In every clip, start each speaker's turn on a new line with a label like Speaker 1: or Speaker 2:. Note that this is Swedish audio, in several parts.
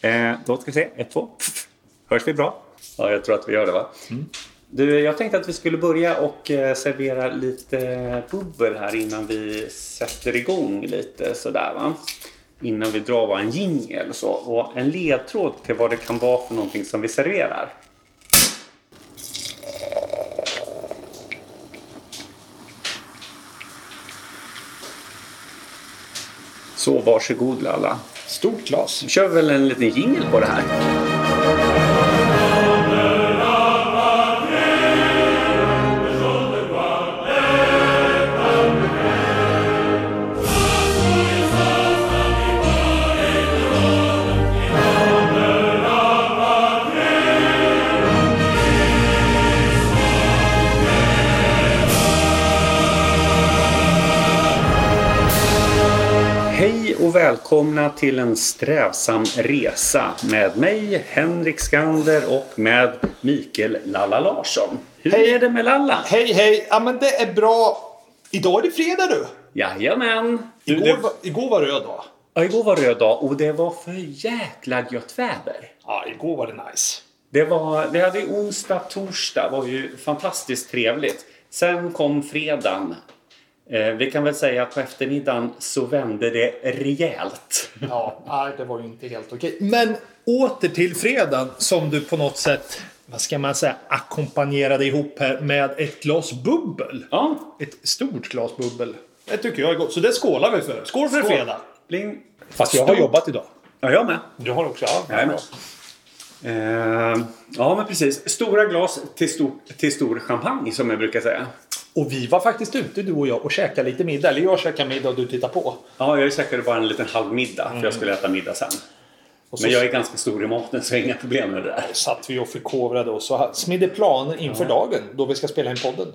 Speaker 1: Eh, då ska vi se. Ett, två. Pff. Hörs vi bra? Mm.
Speaker 2: Ja, jag tror att vi gör det va?
Speaker 1: Du, jag tänkte att vi skulle börja och eh, servera lite bubbel här innan vi sätter igång lite sådär va. Innan vi drar en jingel och så. Och en ledtråd till vad det kan vara för någonting som vi serverar. Så varsågod Lalla.
Speaker 2: Stort glas.
Speaker 1: Vi kör väl en liten jingel på det här. Hej och välkomna till en strävsam resa med mig Henrik Skander och med Mikael Lalla Larsson. Hur
Speaker 2: Hej.
Speaker 1: är det med Lalla?
Speaker 2: Hej, hej! Ja, men det är bra. Idag är det fredag du!
Speaker 1: Jajamän! Du,
Speaker 2: Igår,
Speaker 1: det...
Speaker 2: var, igår var röd dag.
Speaker 1: ja, igår var röd dag och det var för jäkla gött väder.
Speaker 2: Ja, igår var det nice.
Speaker 1: Det var, vi hade ju onsdag, torsdag var ju fantastiskt trevligt. Sen kom fredagen. Eh, vi kan väl säga att på eftermiddagen så vände det rejält.
Speaker 2: Ja, nej, det var ju inte helt okej. Men åter till fredagen som du på något sätt, vad ska man säga, ackompanjerade ihop här med ett glas bubbel.
Speaker 1: Ja,
Speaker 2: Ett stort glas bubbel. Det tycker jag är gott, så det skålar vi för. Skål för fredag!
Speaker 1: bling.
Speaker 2: Fast jag har jobbat idag.
Speaker 1: Ja, jag med.
Speaker 2: Du har också? Ja,
Speaker 1: Jag är med. Eh, ja, men precis. Stora glas till stor, till stor champagne som jag brukar säga.
Speaker 2: Och vi var faktiskt ute du och jag och käkade lite middag. Eller jag käkade middag och du tittade på.
Speaker 1: Ja, jag käkade bara en liten halv middag för jag skulle äta middag sen.
Speaker 2: Och så
Speaker 1: Men jag är ganska stor i maten så jag har inga problem med det där.
Speaker 2: satt vi och förkovrade oss och smidde planer inför dagen då vi ska spela in podden.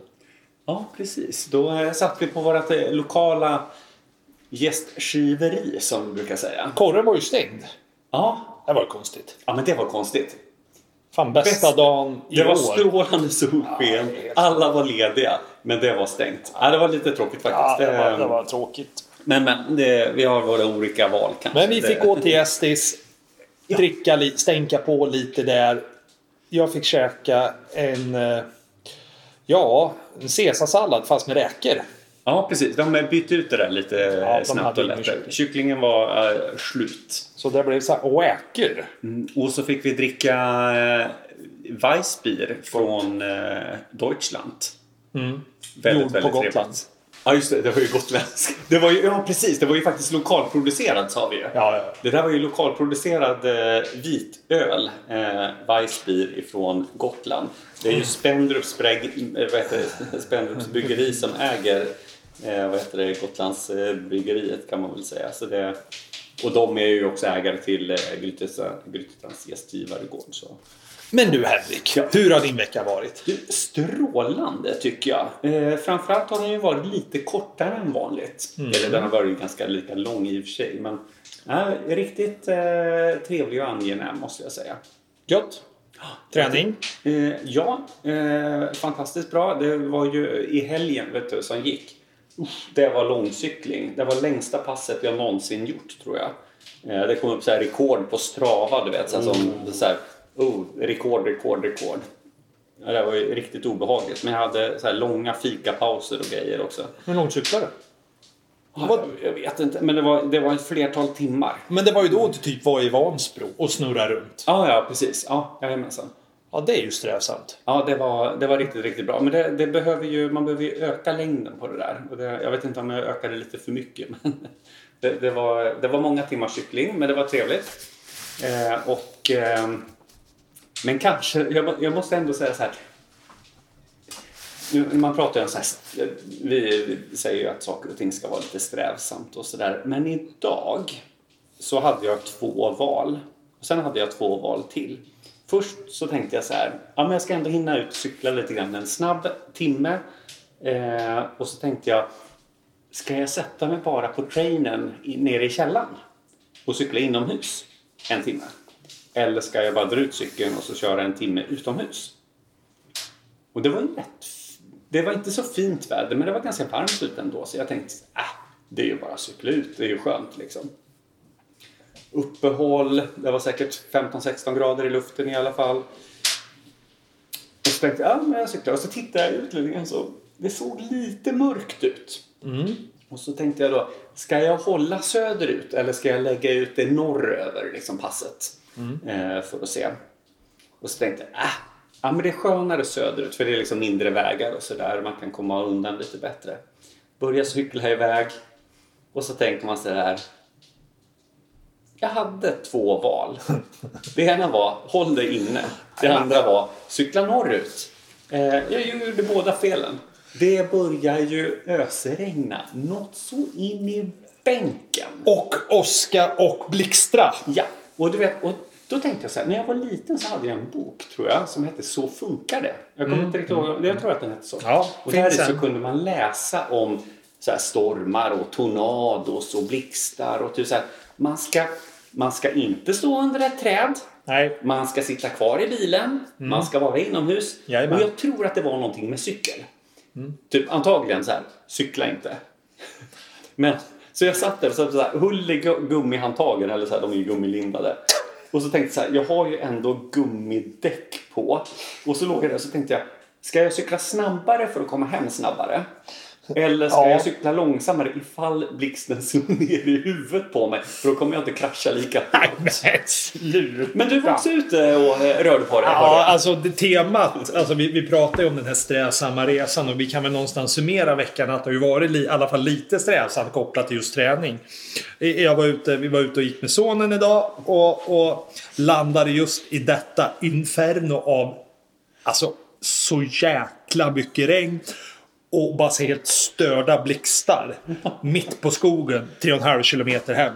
Speaker 1: Ja, precis. Då eh, satt vi på vårt eh, lokala gästgiveri som vi brukar säga.
Speaker 2: Korren var ju stängd.
Speaker 1: Ja,
Speaker 2: Det var konstigt.
Speaker 1: ja men det var konstigt.
Speaker 2: Fan, bästa
Speaker 1: Bästa.
Speaker 2: dagen i
Speaker 1: Det var
Speaker 2: år.
Speaker 1: strålande solsken.
Speaker 2: Ja, helt-
Speaker 1: Alla var lediga, men det var stängt. Ja, det var lite tråkigt
Speaker 2: Ja,
Speaker 1: faktiskt.
Speaker 2: det, var, det
Speaker 1: Eh,
Speaker 2: var tråkigt.
Speaker 1: Men, men det, vi har våra olika val kanske.
Speaker 2: Men vi fick
Speaker 1: Det-
Speaker 2: gå till Estis, dricka lite, stänka på lite där. Jag fick käka en... eh, Ja, en caesarsallad fast med räkor.
Speaker 1: Ja, precis. De har bytt ut det där lite eh,
Speaker 2: de
Speaker 1: snabbt
Speaker 2: hade
Speaker 1: och
Speaker 2: ingen
Speaker 1: lätt.
Speaker 2: kyckling.
Speaker 1: Kycklingen var eh, slut.
Speaker 2: Så det blev så här räkor.
Speaker 1: Mm, Och så fick vi dricka eh, Weissbier från eh, Deutschland. Väldigt,
Speaker 2: Gjord Mm. på
Speaker 1: väldigt
Speaker 2: Gotland.
Speaker 1: trevligt. Ja, just det. Det var ju gotländskt. Det var ju, ja, precis. Det var ju faktiskt lokalproducerat sa vi ju.
Speaker 2: Ja, ja.
Speaker 1: Det där var ju lokalproducerad eh, vitöl, eh, Weissbier ifrån Gotland. Det är ju Spendrups, brägg, eh, vad heter det? Spendrups bryggeri som äger eh, vad heter det? Gotlands eh, bryggeriet kan man väl säga. Så det, och de är ju också ägare till eh, Grythysa- Grythyttans gästgivaregård. Så.
Speaker 2: Men du Henrik, hur har din vecka varit?
Speaker 1: Du, strålande tycker jag. Eh, framförallt har den ju varit lite kortare än vanligt. Eller den har varit ganska lika lång i och för sig. Men eh, riktigt eh, trevlig och angenäm måste jag säga.
Speaker 2: Gött? Träning?
Speaker 1: Eh, ja, eh, fantastiskt bra. Det var ju i helgen vet du, som gick. Usch, det var långcykling. Det var längsta passet jag någonsin gjort tror jag. Eh, det kom upp så här rekord på Strava, du vet. Så här, som, så här, oh, rekord, rekord, rekord. Ja, det var ju riktigt obehagligt. Men jag hade så här långa fikapauser och grejer också.
Speaker 2: Hur långt cyklar du?
Speaker 1: Ja, jag- jag vet inte, men det var, det var ett flertal timmar.
Speaker 2: Men det var ju då du typ var i Vansbro och snurrade runt.
Speaker 1: Ja, ja, precis. Ja, jajamensan.
Speaker 2: Ja, det är ju strävsamt.
Speaker 1: Ja, det var, det var riktigt, riktigt bra. Men det, det behöver ju, man behöver ju öka längden på det där. Och det, jag vet inte om jag ökade lite för mycket. Men det, det, var, det var många timmar cykling, men det var trevligt. Eh, och, eh, men kanske, jag, må- jag måste ändå säga så här. Nu, man pratar ju om så här, vi säger ju att saker och ting ska vara lite strävsamt och sådär. Men idag så hade jag två val. Och sen hade jag två val till. Först så tänkte jag så här, ja men jag ska ändå hinna ut och cykla lite grann en snabb timme. Eh, och så tänkte jag, ska jag sätta mig bara på trainen i, nere i källaren och cykla inomhus en timme? Eller ska jag bara dra ut cykeln och så köra en timme utomhus? Och det var ju rätt... f- Det var inte så fint väder, men det var ganska varmt ute ändå. Så jag tänkte, äh, det är ju bara att cykla ut, det är ju skönt liksom. uppehåll. Det var säkert 15-16 grader i luften i alla fall. Och så tänkte jag, ja men jag cyklar. Och så tittade jag i utlänningen så det såg lite mörkt ut.
Speaker 2: Mm.
Speaker 1: Och så tänkte jag då, ska jag hålla söderut eller ska jag lägga ut det norröver, liksom passet? Eh, för att se. Och så tänkte jag, ah, ja men det är skönare söderut för det är liksom mindre vägar och sådär. Man kan komma undan lite bättre. Börja cykla iväg. Och så tänker man så här. Jag hade två val. Det ena var håll dig inne. Det andra var cykla norrut. Eh, jag gjorde båda felen. Det börjar ju ösregna något så in i bänken.
Speaker 2: Och Oskar och Blixtra.
Speaker 1: Ja, och, du vet, och då tänkte jag så här, när jag var liten så hade jag en bok tror jag som hette Så funkar det. Jag kommer inte riktigt ihåg, jag tror att den hette så.
Speaker 2: Mm. Ja,
Speaker 1: och
Speaker 2: finns
Speaker 1: där i
Speaker 2: den.
Speaker 1: så kunde man läsa om så här stormar och tornados och blixtar och typ så här, man ska, man ska inte stå under ett träd.
Speaker 2: Nej.
Speaker 1: Man ska sitta kvar i bilen, man ska vara inomhus.
Speaker 2: Mm. Jajamän. Mm.
Speaker 1: Och jag tror att det var någonting med cykel. Typ antagligen så här, cykla inte. Men, så jag satt där och så, så här, hull i gu- gummihandtagen, eller så här, de är ju gummilindade. Och så tänkte jag så här, jag har ju ändå gummidäck på. Och så låg jag där och så tänkte jag, ska jag cykla snabbare för att komma hem snabbare? Eller ska
Speaker 2: Ja.
Speaker 1: jag cykla långsammare ifall blixten slår ner i huvudet på mig? För då kommer jag inte krascha lika hårt.
Speaker 2: Men sluta.
Speaker 1: Men du var också ute och eh, rörde på dig? hörde
Speaker 2: Ja,
Speaker 1: jag.
Speaker 2: alltså det temat. Alltså, vi, vi pratar ju om den här strävsamma resan och vi kan väl någonstans summera veckan att det har ju varit li, i alla fall lite strävsamt kopplat till just träning. I- Jag var ute, vi var ute och gick med sonen idag och, och landade just i detta inferno av alltså så jäkla mycket regn och bara så helt störda blixtar mitt på skogen tre och en halv kilometer hem.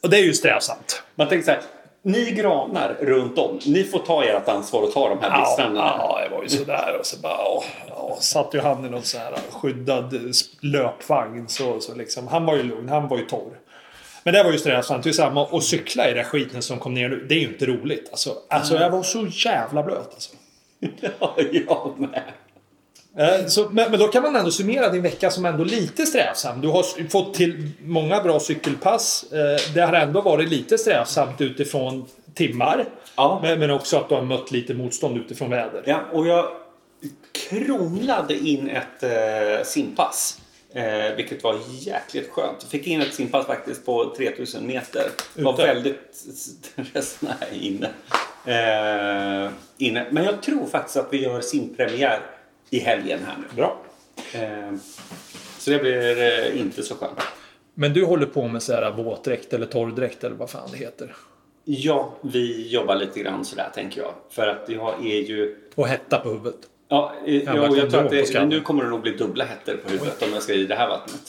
Speaker 2: Och det är ju strävsamt.
Speaker 1: Man tänker så här, ni granar runt om, ni får ta ert ansvar och ta de här blixtarna.
Speaker 2: Ja, det var ju sådär. Och så bara, ja, ja, satt ju han i någon sån här skyddad eh, sp- löpvagn. Så, så liksom, han var ju lugn, han var ju torr. Men det var ju strävsamt. Det är samma att cykla i den här skiten som kom ner nu. Det är ju inte roligt. Alltså, alltså jag var så jävla blöt alltså.
Speaker 1: Ja, jag med.
Speaker 2: Eh, Så, men, men då kan man ändå summera din vecka som ändå lite strävsam. Du har s- fått till många bra cykelpass. Eh, Det har ändå varit lite strävsamt utifrån timmar.
Speaker 1: Ja.
Speaker 2: Men, men också att du har mött lite motstånd utifrån väder.
Speaker 1: Ja, och jag kronlade in ett eh, simpass. Eh, vilket var jäkligt skönt. Fick in ett simpass faktiskt på 3000 meter. Var
Speaker 2: Ute?
Speaker 1: väldigt... Resten är inne. Eh, inne. Men jag tror faktiskt att vi gör simpremiär i helgen här nu.
Speaker 2: Bra.
Speaker 1: Eh, så det blir eh, inte så skönt.
Speaker 2: Men du håller på med så här våtdräkt eller torrdräkt eller vad fan det heter.
Speaker 1: Ja, vi jobbar lite grann sådär tänker jag. För att jag är ju...
Speaker 2: Och hetta på huvudet.
Speaker 1: Ja, eh,
Speaker 2: Jävla
Speaker 1: jo, jag tror
Speaker 2: kondom
Speaker 1: att
Speaker 2: på
Speaker 1: det,
Speaker 2: skallen.
Speaker 1: nu kommer det nog bli dubbla hetter på huvudet om jag ska i det här vattnet.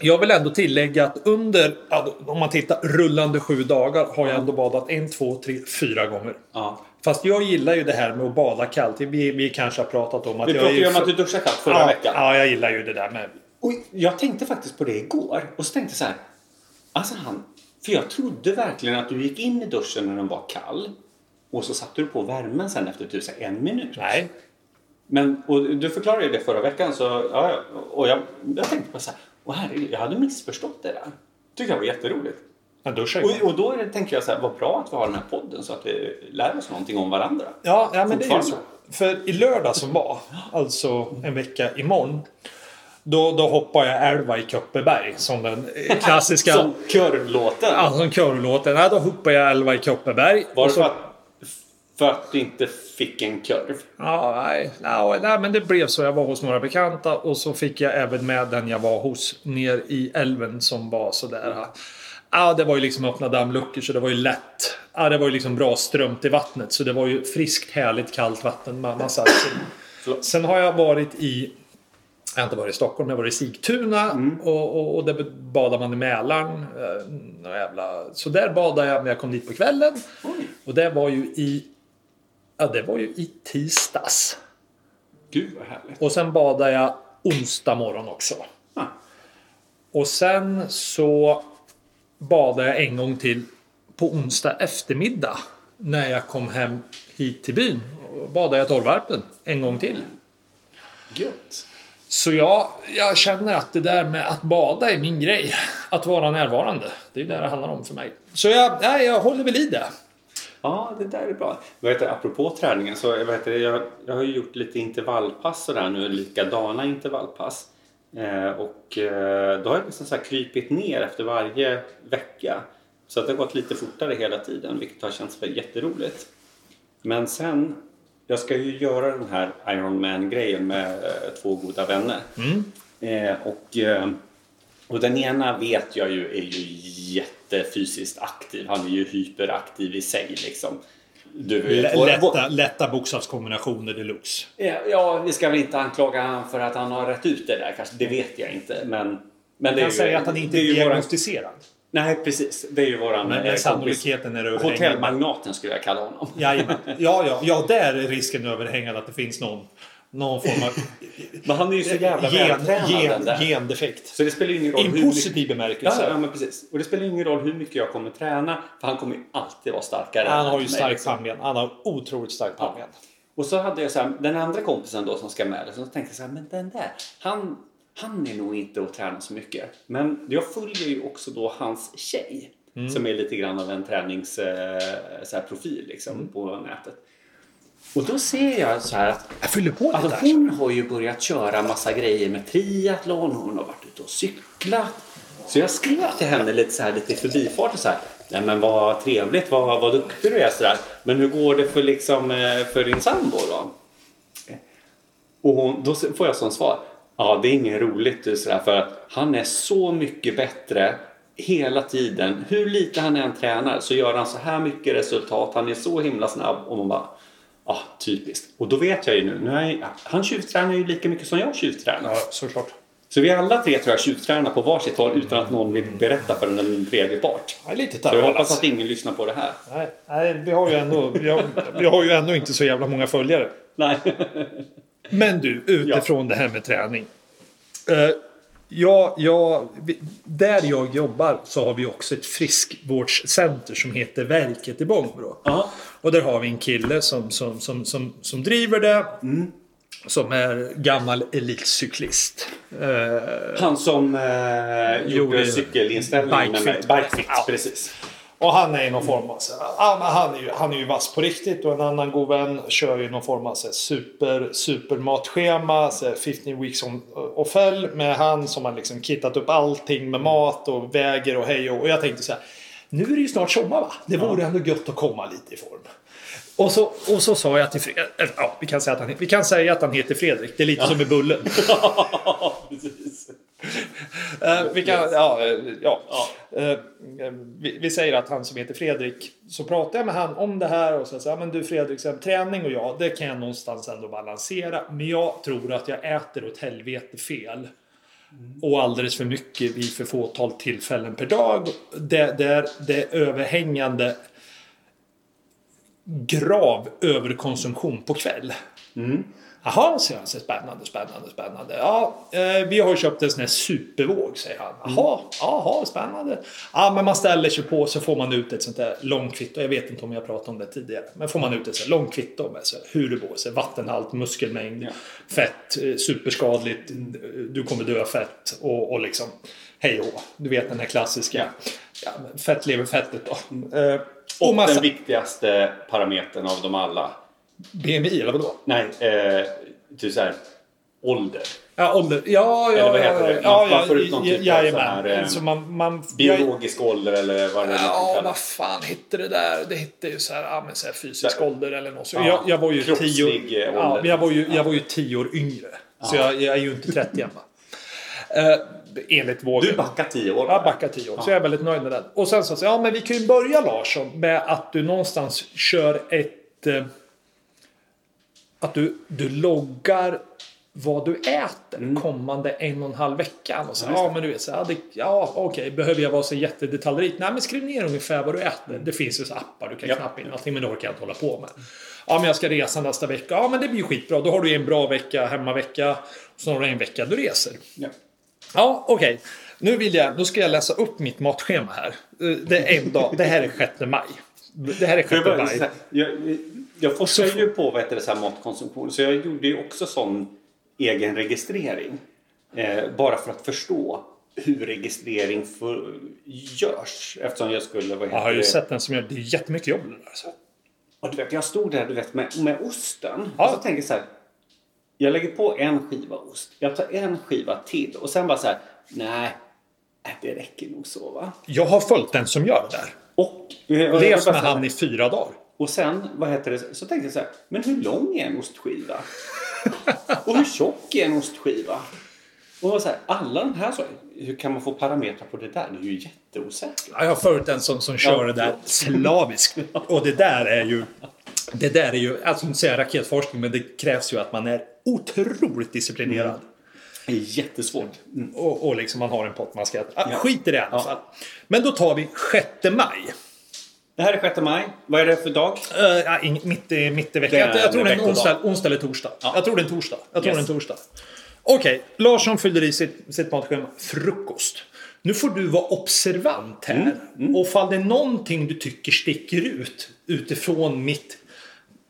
Speaker 2: Jag vill ändå tillägga att under, ja, då- om man tittar rullande sju dagar har jag ändå badat en, två, tre, fyra gånger.
Speaker 1: Ja.
Speaker 2: Fast jag gillar ju det här med att bada kallt. Vi, vi kanske har pratat om att
Speaker 1: Vi
Speaker 2: jag
Speaker 1: pratade
Speaker 2: är
Speaker 1: ju om
Speaker 2: för-
Speaker 1: att du duschade kallt förra
Speaker 2: ja,
Speaker 1: veckan.
Speaker 2: Ja, jag gillar ju det där med...
Speaker 1: Och jag tänkte faktiskt på det igår och så tänkte jag så här. Alltså han, för jag trodde verkligen att du gick in i duschen när den var kall och så satte du på värmen sen efter typ så här en minut.
Speaker 2: Nej.
Speaker 1: Men, och du förklarade ju det förra veckan så ja, ja. och jag, jag tänkte på så här. Åh herregud, jag hade missförstått det där. Tyckte jag var jätteroligt.
Speaker 2: Man duschar ju.
Speaker 1: Och, och då är det- tänker jag så här, vad bra att vi har den här podden så att vi lär oss någonting om varandra.
Speaker 2: Ja, ja men det är ju
Speaker 1: Fortfarande.
Speaker 2: så. För i lördag som var, alltså en vecka imorgon. Då, då hoppar jag älva i Köppeberg som den eh, klassiska...
Speaker 1: Som körlåten.
Speaker 2: Ja, som körlåten. Nej, då hoppar jag älva i Kopparberg.
Speaker 1: Var
Speaker 2: Och
Speaker 1: det
Speaker 2: så-
Speaker 1: för att, för att du inte fick en kurv?
Speaker 2: Ja, nej, nej, nej, men det blev så. Jag var hos några bekanta och så fick jag även med den jag var hos ner i älven som var sådär. Ja, det var ju liksom öppna dammluckor så det var ju lätt. Ja, det var ju liksom bra strömt i vattnet så det var ju friskt, härligt, kallt vatten man, man satt sig i.
Speaker 1: Förlåt.
Speaker 2: Sen har jag varit i jag har inte varit i Stockholm, jag har varit i Sigtuna och, och, och där badar man i Mälaren. Eh, någon jävla... Så där badade jag när jag kom dit på kvällen.
Speaker 1: Oj.
Speaker 2: Och det var ju i Ja, det var ju i tisdags.
Speaker 1: Gud vad härligt.
Speaker 2: Och sen badade jag onsdag morgon också.
Speaker 1: Ah.
Speaker 2: Och sen så badade jag en gång till på onsdag eftermiddag. När jag kom hem hit till byn. Och badade jag Torvarpen en gång till.
Speaker 1: Gött.
Speaker 2: Så jag, jag känner att det där med att bada är min grej. Att vara närvarande. Det är ju det det handlar om för mig. Så jag, nej, jag håller väl i det.
Speaker 1: Ja, det där är bra. Vad heter, det, apropå träningen, så vad heter, det, jag, jag har ju gjort lite intervallpass sådär nu, likadana intervallpass. Eh, och eh, då har jag liksom så här krypit ner efter varje vecka. Så att det har gått lite fortare hela tiden, vilket har känts väl jätteroligt. Men sen, jag ska ju göra den här Ironman-grejen med eh, två goda vänner.
Speaker 2: Mm.
Speaker 1: Eh, och, eh, och den ena vet jag ju är ju jättefysiskt aktiv. Han är ju hyperaktiv i sig liksom. Du, vår- vår-
Speaker 2: Lätta, lätta bokstavskombinationer deluxe.
Speaker 1: Ja, Eh, ja, vi ska väl inte anklaga honom för att han har rätt ut det där kanske. Det vet jag inte. Men, men det är
Speaker 2: Han
Speaker 1: ju,
Speaker 2: säger att han inte
Speaker 1: det
Speaker 2: är
Speaker 1: är ju våran,
Speaker 2: diagnostiserad.
Speaker 1: Nej, precis. Det är ju våran
Speaker 2: Men,
Speaker 1: eh,
Speaker 2: men
Speaker 1: kompis.
Speaker 2: sannolikheten är överhängande.
Speaker 1: Hotellmagnaten skulle jag kalla honom.
Speaker 2: Jajamän. Ja, ja, ja, där är risken överhängande att det finns någon, någon form av
Speaker 1: Men han är ju så jävla vältränad den
Speaker 2: gen,
Speaker 1: där.
Speaker 2: gen, gendefekt.
Speaker 1: Så det spelar ju ingen roll
Speaker 2: I en
Speaker 1: hur mycket...
Speaker 2: positiv
Speaker 1: Ja,
Speaker 2: bemärkelse.
Speaker 1: ja, men precis. Och det spelar ju ingen roll hur mycket jag kommer träna. För han kommer ju alltid vara starkare.
Speaker 2: Han
Speaker 1: än
Speaker 2: har ju
Speaker 1: mig,
Speaker 2: stark
Speaker 1: liksom.
Speaker 2: pannben. Han har otroligt stark pannben.
Speaker 1: Och så hade jag så här, den andra kompisen då som ska med, så tänkte jag så här, men den där, han, han är nog inte att träna så mycket. Men jag följer ju också då hans tjej
Speaker 2: Mm.
Speaker 1: som är lite grann av en eh, träningsprofil liksom,
Speaker 2: Mm.
Speaker 1: på nätet. Och då ser jag så här att
Speaker 2: Jag fyller på
Speaker 1: Alltså hon har ju börjat köra massa grejer med triathlon. Hon har varit ute och cyklat. Så jag skrev till henne lite så här lite i förbifarten så här. Nej men vad trevligt, vad, vad duktig du är så där. Men hur går det för liksom eh, för din sambo då? Och hon, då får jag som svar. Ja det är inget roligt du så där, för att han är så mycket bättre hela tiden. Hur lite han än tränar så gör han så här mycket resultat. Han är så himla snabb och man bara Ja, typiskt. Och då vet jag ju nu, nu har jag, han tjuvtränar ju lika mycket som jag tjuvtränar.
Speaker 2: Ja, såklart.
Speaker 1: Så vi alla tre tror jag tjuvtränar på varsitt håll utan att någon vill berätta för den tredje part.
Speaker 2: Ja, lite
Speaker 1: Så jag
Speaker 2: tarvligt.
Speaker 1: hoppas att ingen lyssnar på det här.
Speaker 2: Nej, nej, vi har ju ändå, vi har, vi har ju ändå inte så jävla många följare.
Speaker 1: Nej.
Speaker 2: Men du, utifrån det här med träning. Eh, ja, ja, vi, där jag jobbar så har vi också ett friskvårdscenter som heter Verket i Bångbro.
Speaker 1: Ja.
Speaker 2: Och där har vi en kille som, som, som, som, som driver det. Som är gammal elitcyklist. Eh,
Speaker 1: Han som eh, gjorde
Speaker 2: Gjorde
Speaker 1: cykelinställningen med mig.
Speaker 2: bikefit.
Speaker 1: Bikefit,
Speaker 2: Ja.
Speaker 1: precis.
Speaker 2: Och han är i någon form av... så- ja, men Han är, ju, han är ju vass på riktigt och en annan god vän kör ju någon form av så här super, supermatschema. Så här 15 weeks on, eh, och fäll med han som har liksom kittat upp allting med mat och väger och hej och, och jag tänkte så här. Nu är det ju snart sommar va? Det vore ändå gött att komma lite i form. Och så, och så sa jag till Fredrik, ja, vi, kan säga att han, vi kan säga att han heter Fredrik, det är lite som med Bullen.
Speaker 1: precis.
Speaker 2: Eh, vi, kan, ja, eh, ja. Eh, eh, vi, vi säger att han som heter Fredrik, så pratar jag med han om det här och så säger jag, men du Fredrik, så här, träning och jag, det kan jag någonstans ändå balansera. Men jag tror att jag äter åt helvete fel. Och alldeles för mycket vid för fåtal tillfällen per dag. Det, det, är- det är överhängande grav överkonsumtion på kväll. Jaha, säger han. Så spännande, spännande, spännande. Ja, eh, vi har ju köpt en sån här supervåg, säger han. Jaha, jaha, spännande. Ja, men man ställer sig på så får man ut ett sånt där långkvitto. Jag vet inte om jag pratade om det tidigare. Men får man ut ett sånt här långkvitto med så här, hur det går. Så här, vattenhalt, muskelmängd,
Speaker 1: Ja.
Speaker 2: fett, eh, superskadligt, du kommer dö av fett och, och liksom hej och hå. Du vet den här klassiska. Ja, men fett lever fettet då. Eh, och massa
Speaker 1: Den viktigaste parametern av dem alla.
Speaker 2: BMI eller vadå?
Speaker 1: Nej, eh, typ så här, ålder.
Speaker 2: Ja, ålder. Ja, ja,
Speaker 1: Eller vad
Speaker 2: ja,
Speaker 1: heter
Speaker 2: ja,
Speaker 1: det?
Speaker 2: ja,
Speaker 1: Man-
Speaker 2: ja,
Speaker 1: man får ut någon typ av
Speaker 2: jajamän.
Speaker 1: sån här, eh,
Speaker 2: Så man, man, jag-
Speaker 1: Biologisk ålder eller vad det är.
Speaker 2: Ja,
Speaker 1: man kallar
Speaker 2: vad fan hette det där? Det hette ju så här, ja, men så här fysisk
Speaker 1: Där.
Speaker 2: ålder eller något. Så
Speaker 1: Ja,
Speaker 2: jag, jag var ju
Speaker 1: kroppslig,
Speaker 2: tio
Speaker 1: eh, ålder.
Speaker 2: ja, men jag, var ju, jag var ju tio år yngre. Så jag, jag är ju inte 30 än va. Eh, enligt vågen.
Speaker 1: Du backar tio år.
Speaker 2: Jag backar 10 år, så jag är väldigt nöjd med den. Och sen så säger jag, ja men vi kan ju börja Larsson med att du någonstans kör ett... Eh, att du, du loggar vad du äter kommande en och en halv vecka. Och så, Mm. ja, men du vet så här, ja, det, ja okej, behöver jag vara så jättedetaljrik? Nej, men skriv ner ungefär vad du äter. Det finns ju så appar, du kan
Speaker 1: Ja.
Speaker 2: knappa in allting, men det orkar jag inte hålla på med. Ja, men jag ska resa nästa vecka. Ja, men det blir ju skitbra. Då har du en bra vecka, hemmavecka. Sen har du en vecka du reser.
Speaker 1: Ja.
Speaker 2: Ja, okej. Nu vill jag, då ska jag läsa upp mitt matschema här. Eh, Det är en dag. Det här är 6 maj. Det här är 6
Speaker 1: För jag, bara, så
Speaker 2: maj.
Speaker 1: här, jag, jag forskar ju på vad heter det, så här, matkonsumtion så jag gjorde ju också sån egen registrering. Eh, bara för att förstå hur registrering för, görs. Eftersom jag skulle... Vad
Speaker 2: Jag
Speaker 1: heter
Speaker 2: har ju
Speaker 1: det?
Speaker 2: sett den som gör det är jättemycket jobb. det där, Alltså.
Speaker 1: Och du vet, jag stod där du vet, med, med osten
Speaker 2: Ja.
Speaker 1: och så tänker jag så här. Jag lägger på en skiva ost. Jag tar en skiva till och sen bara så här. Nej, äh, det räcker nog så va.
Speaker 2: Jag har följt den som gör det där.
Speaker 1: Och, eh, och, jag
Speaker 2: Levt
Speaker 1: bara
Speaker 2: med
Speaker 1: så här-
Speaker 2: han i fyra dagar.
Speaker 1: och sen vad heter det, så tänkte jag så här. Men hur lång är en ostskiva? och hur tjock är en ostskiva? Och jag var så här, alla de här så, hur kan man få parametrar på det där? Det är ju jätteosäkert.
Speaker 2: Ja, jag har förut en som, som kör det där slaviskt. Och det där är ju... Det där är ju, alltså inte säga raketforskning, men det krävs ju att man är otroligt disciplinerad.
Speaker 1: Det är jättesvårt.
Speaker 2: Och, och liksom man har en pott man ska... Ah, Skit i det i alla fall. Men då tar vi 6 maj.
Speaker 1: Det här är 6 maj. Vad är det för dag?
Speaker 2: Eh, ja, ing- mitt, i, mitt i veckan.
Speaker 1: Det är
Speaker 2: Jag, jag tror det är en
Speaker 1: veckodag.
Speaker 2: onsdag, onsdag eller torsdag. Jag tror det är en torsdag. Jag tror
Speaker 1: Yes.
Speaker 2: det är en torsdag. Okej, Larsson fyller i sitt, sitt matschema. Frukost. Nu får du vara observant här.
Speaker 1: Mm.
Speaker 2: Och fall det är någonting du tycker sticker ut utifrån mitt...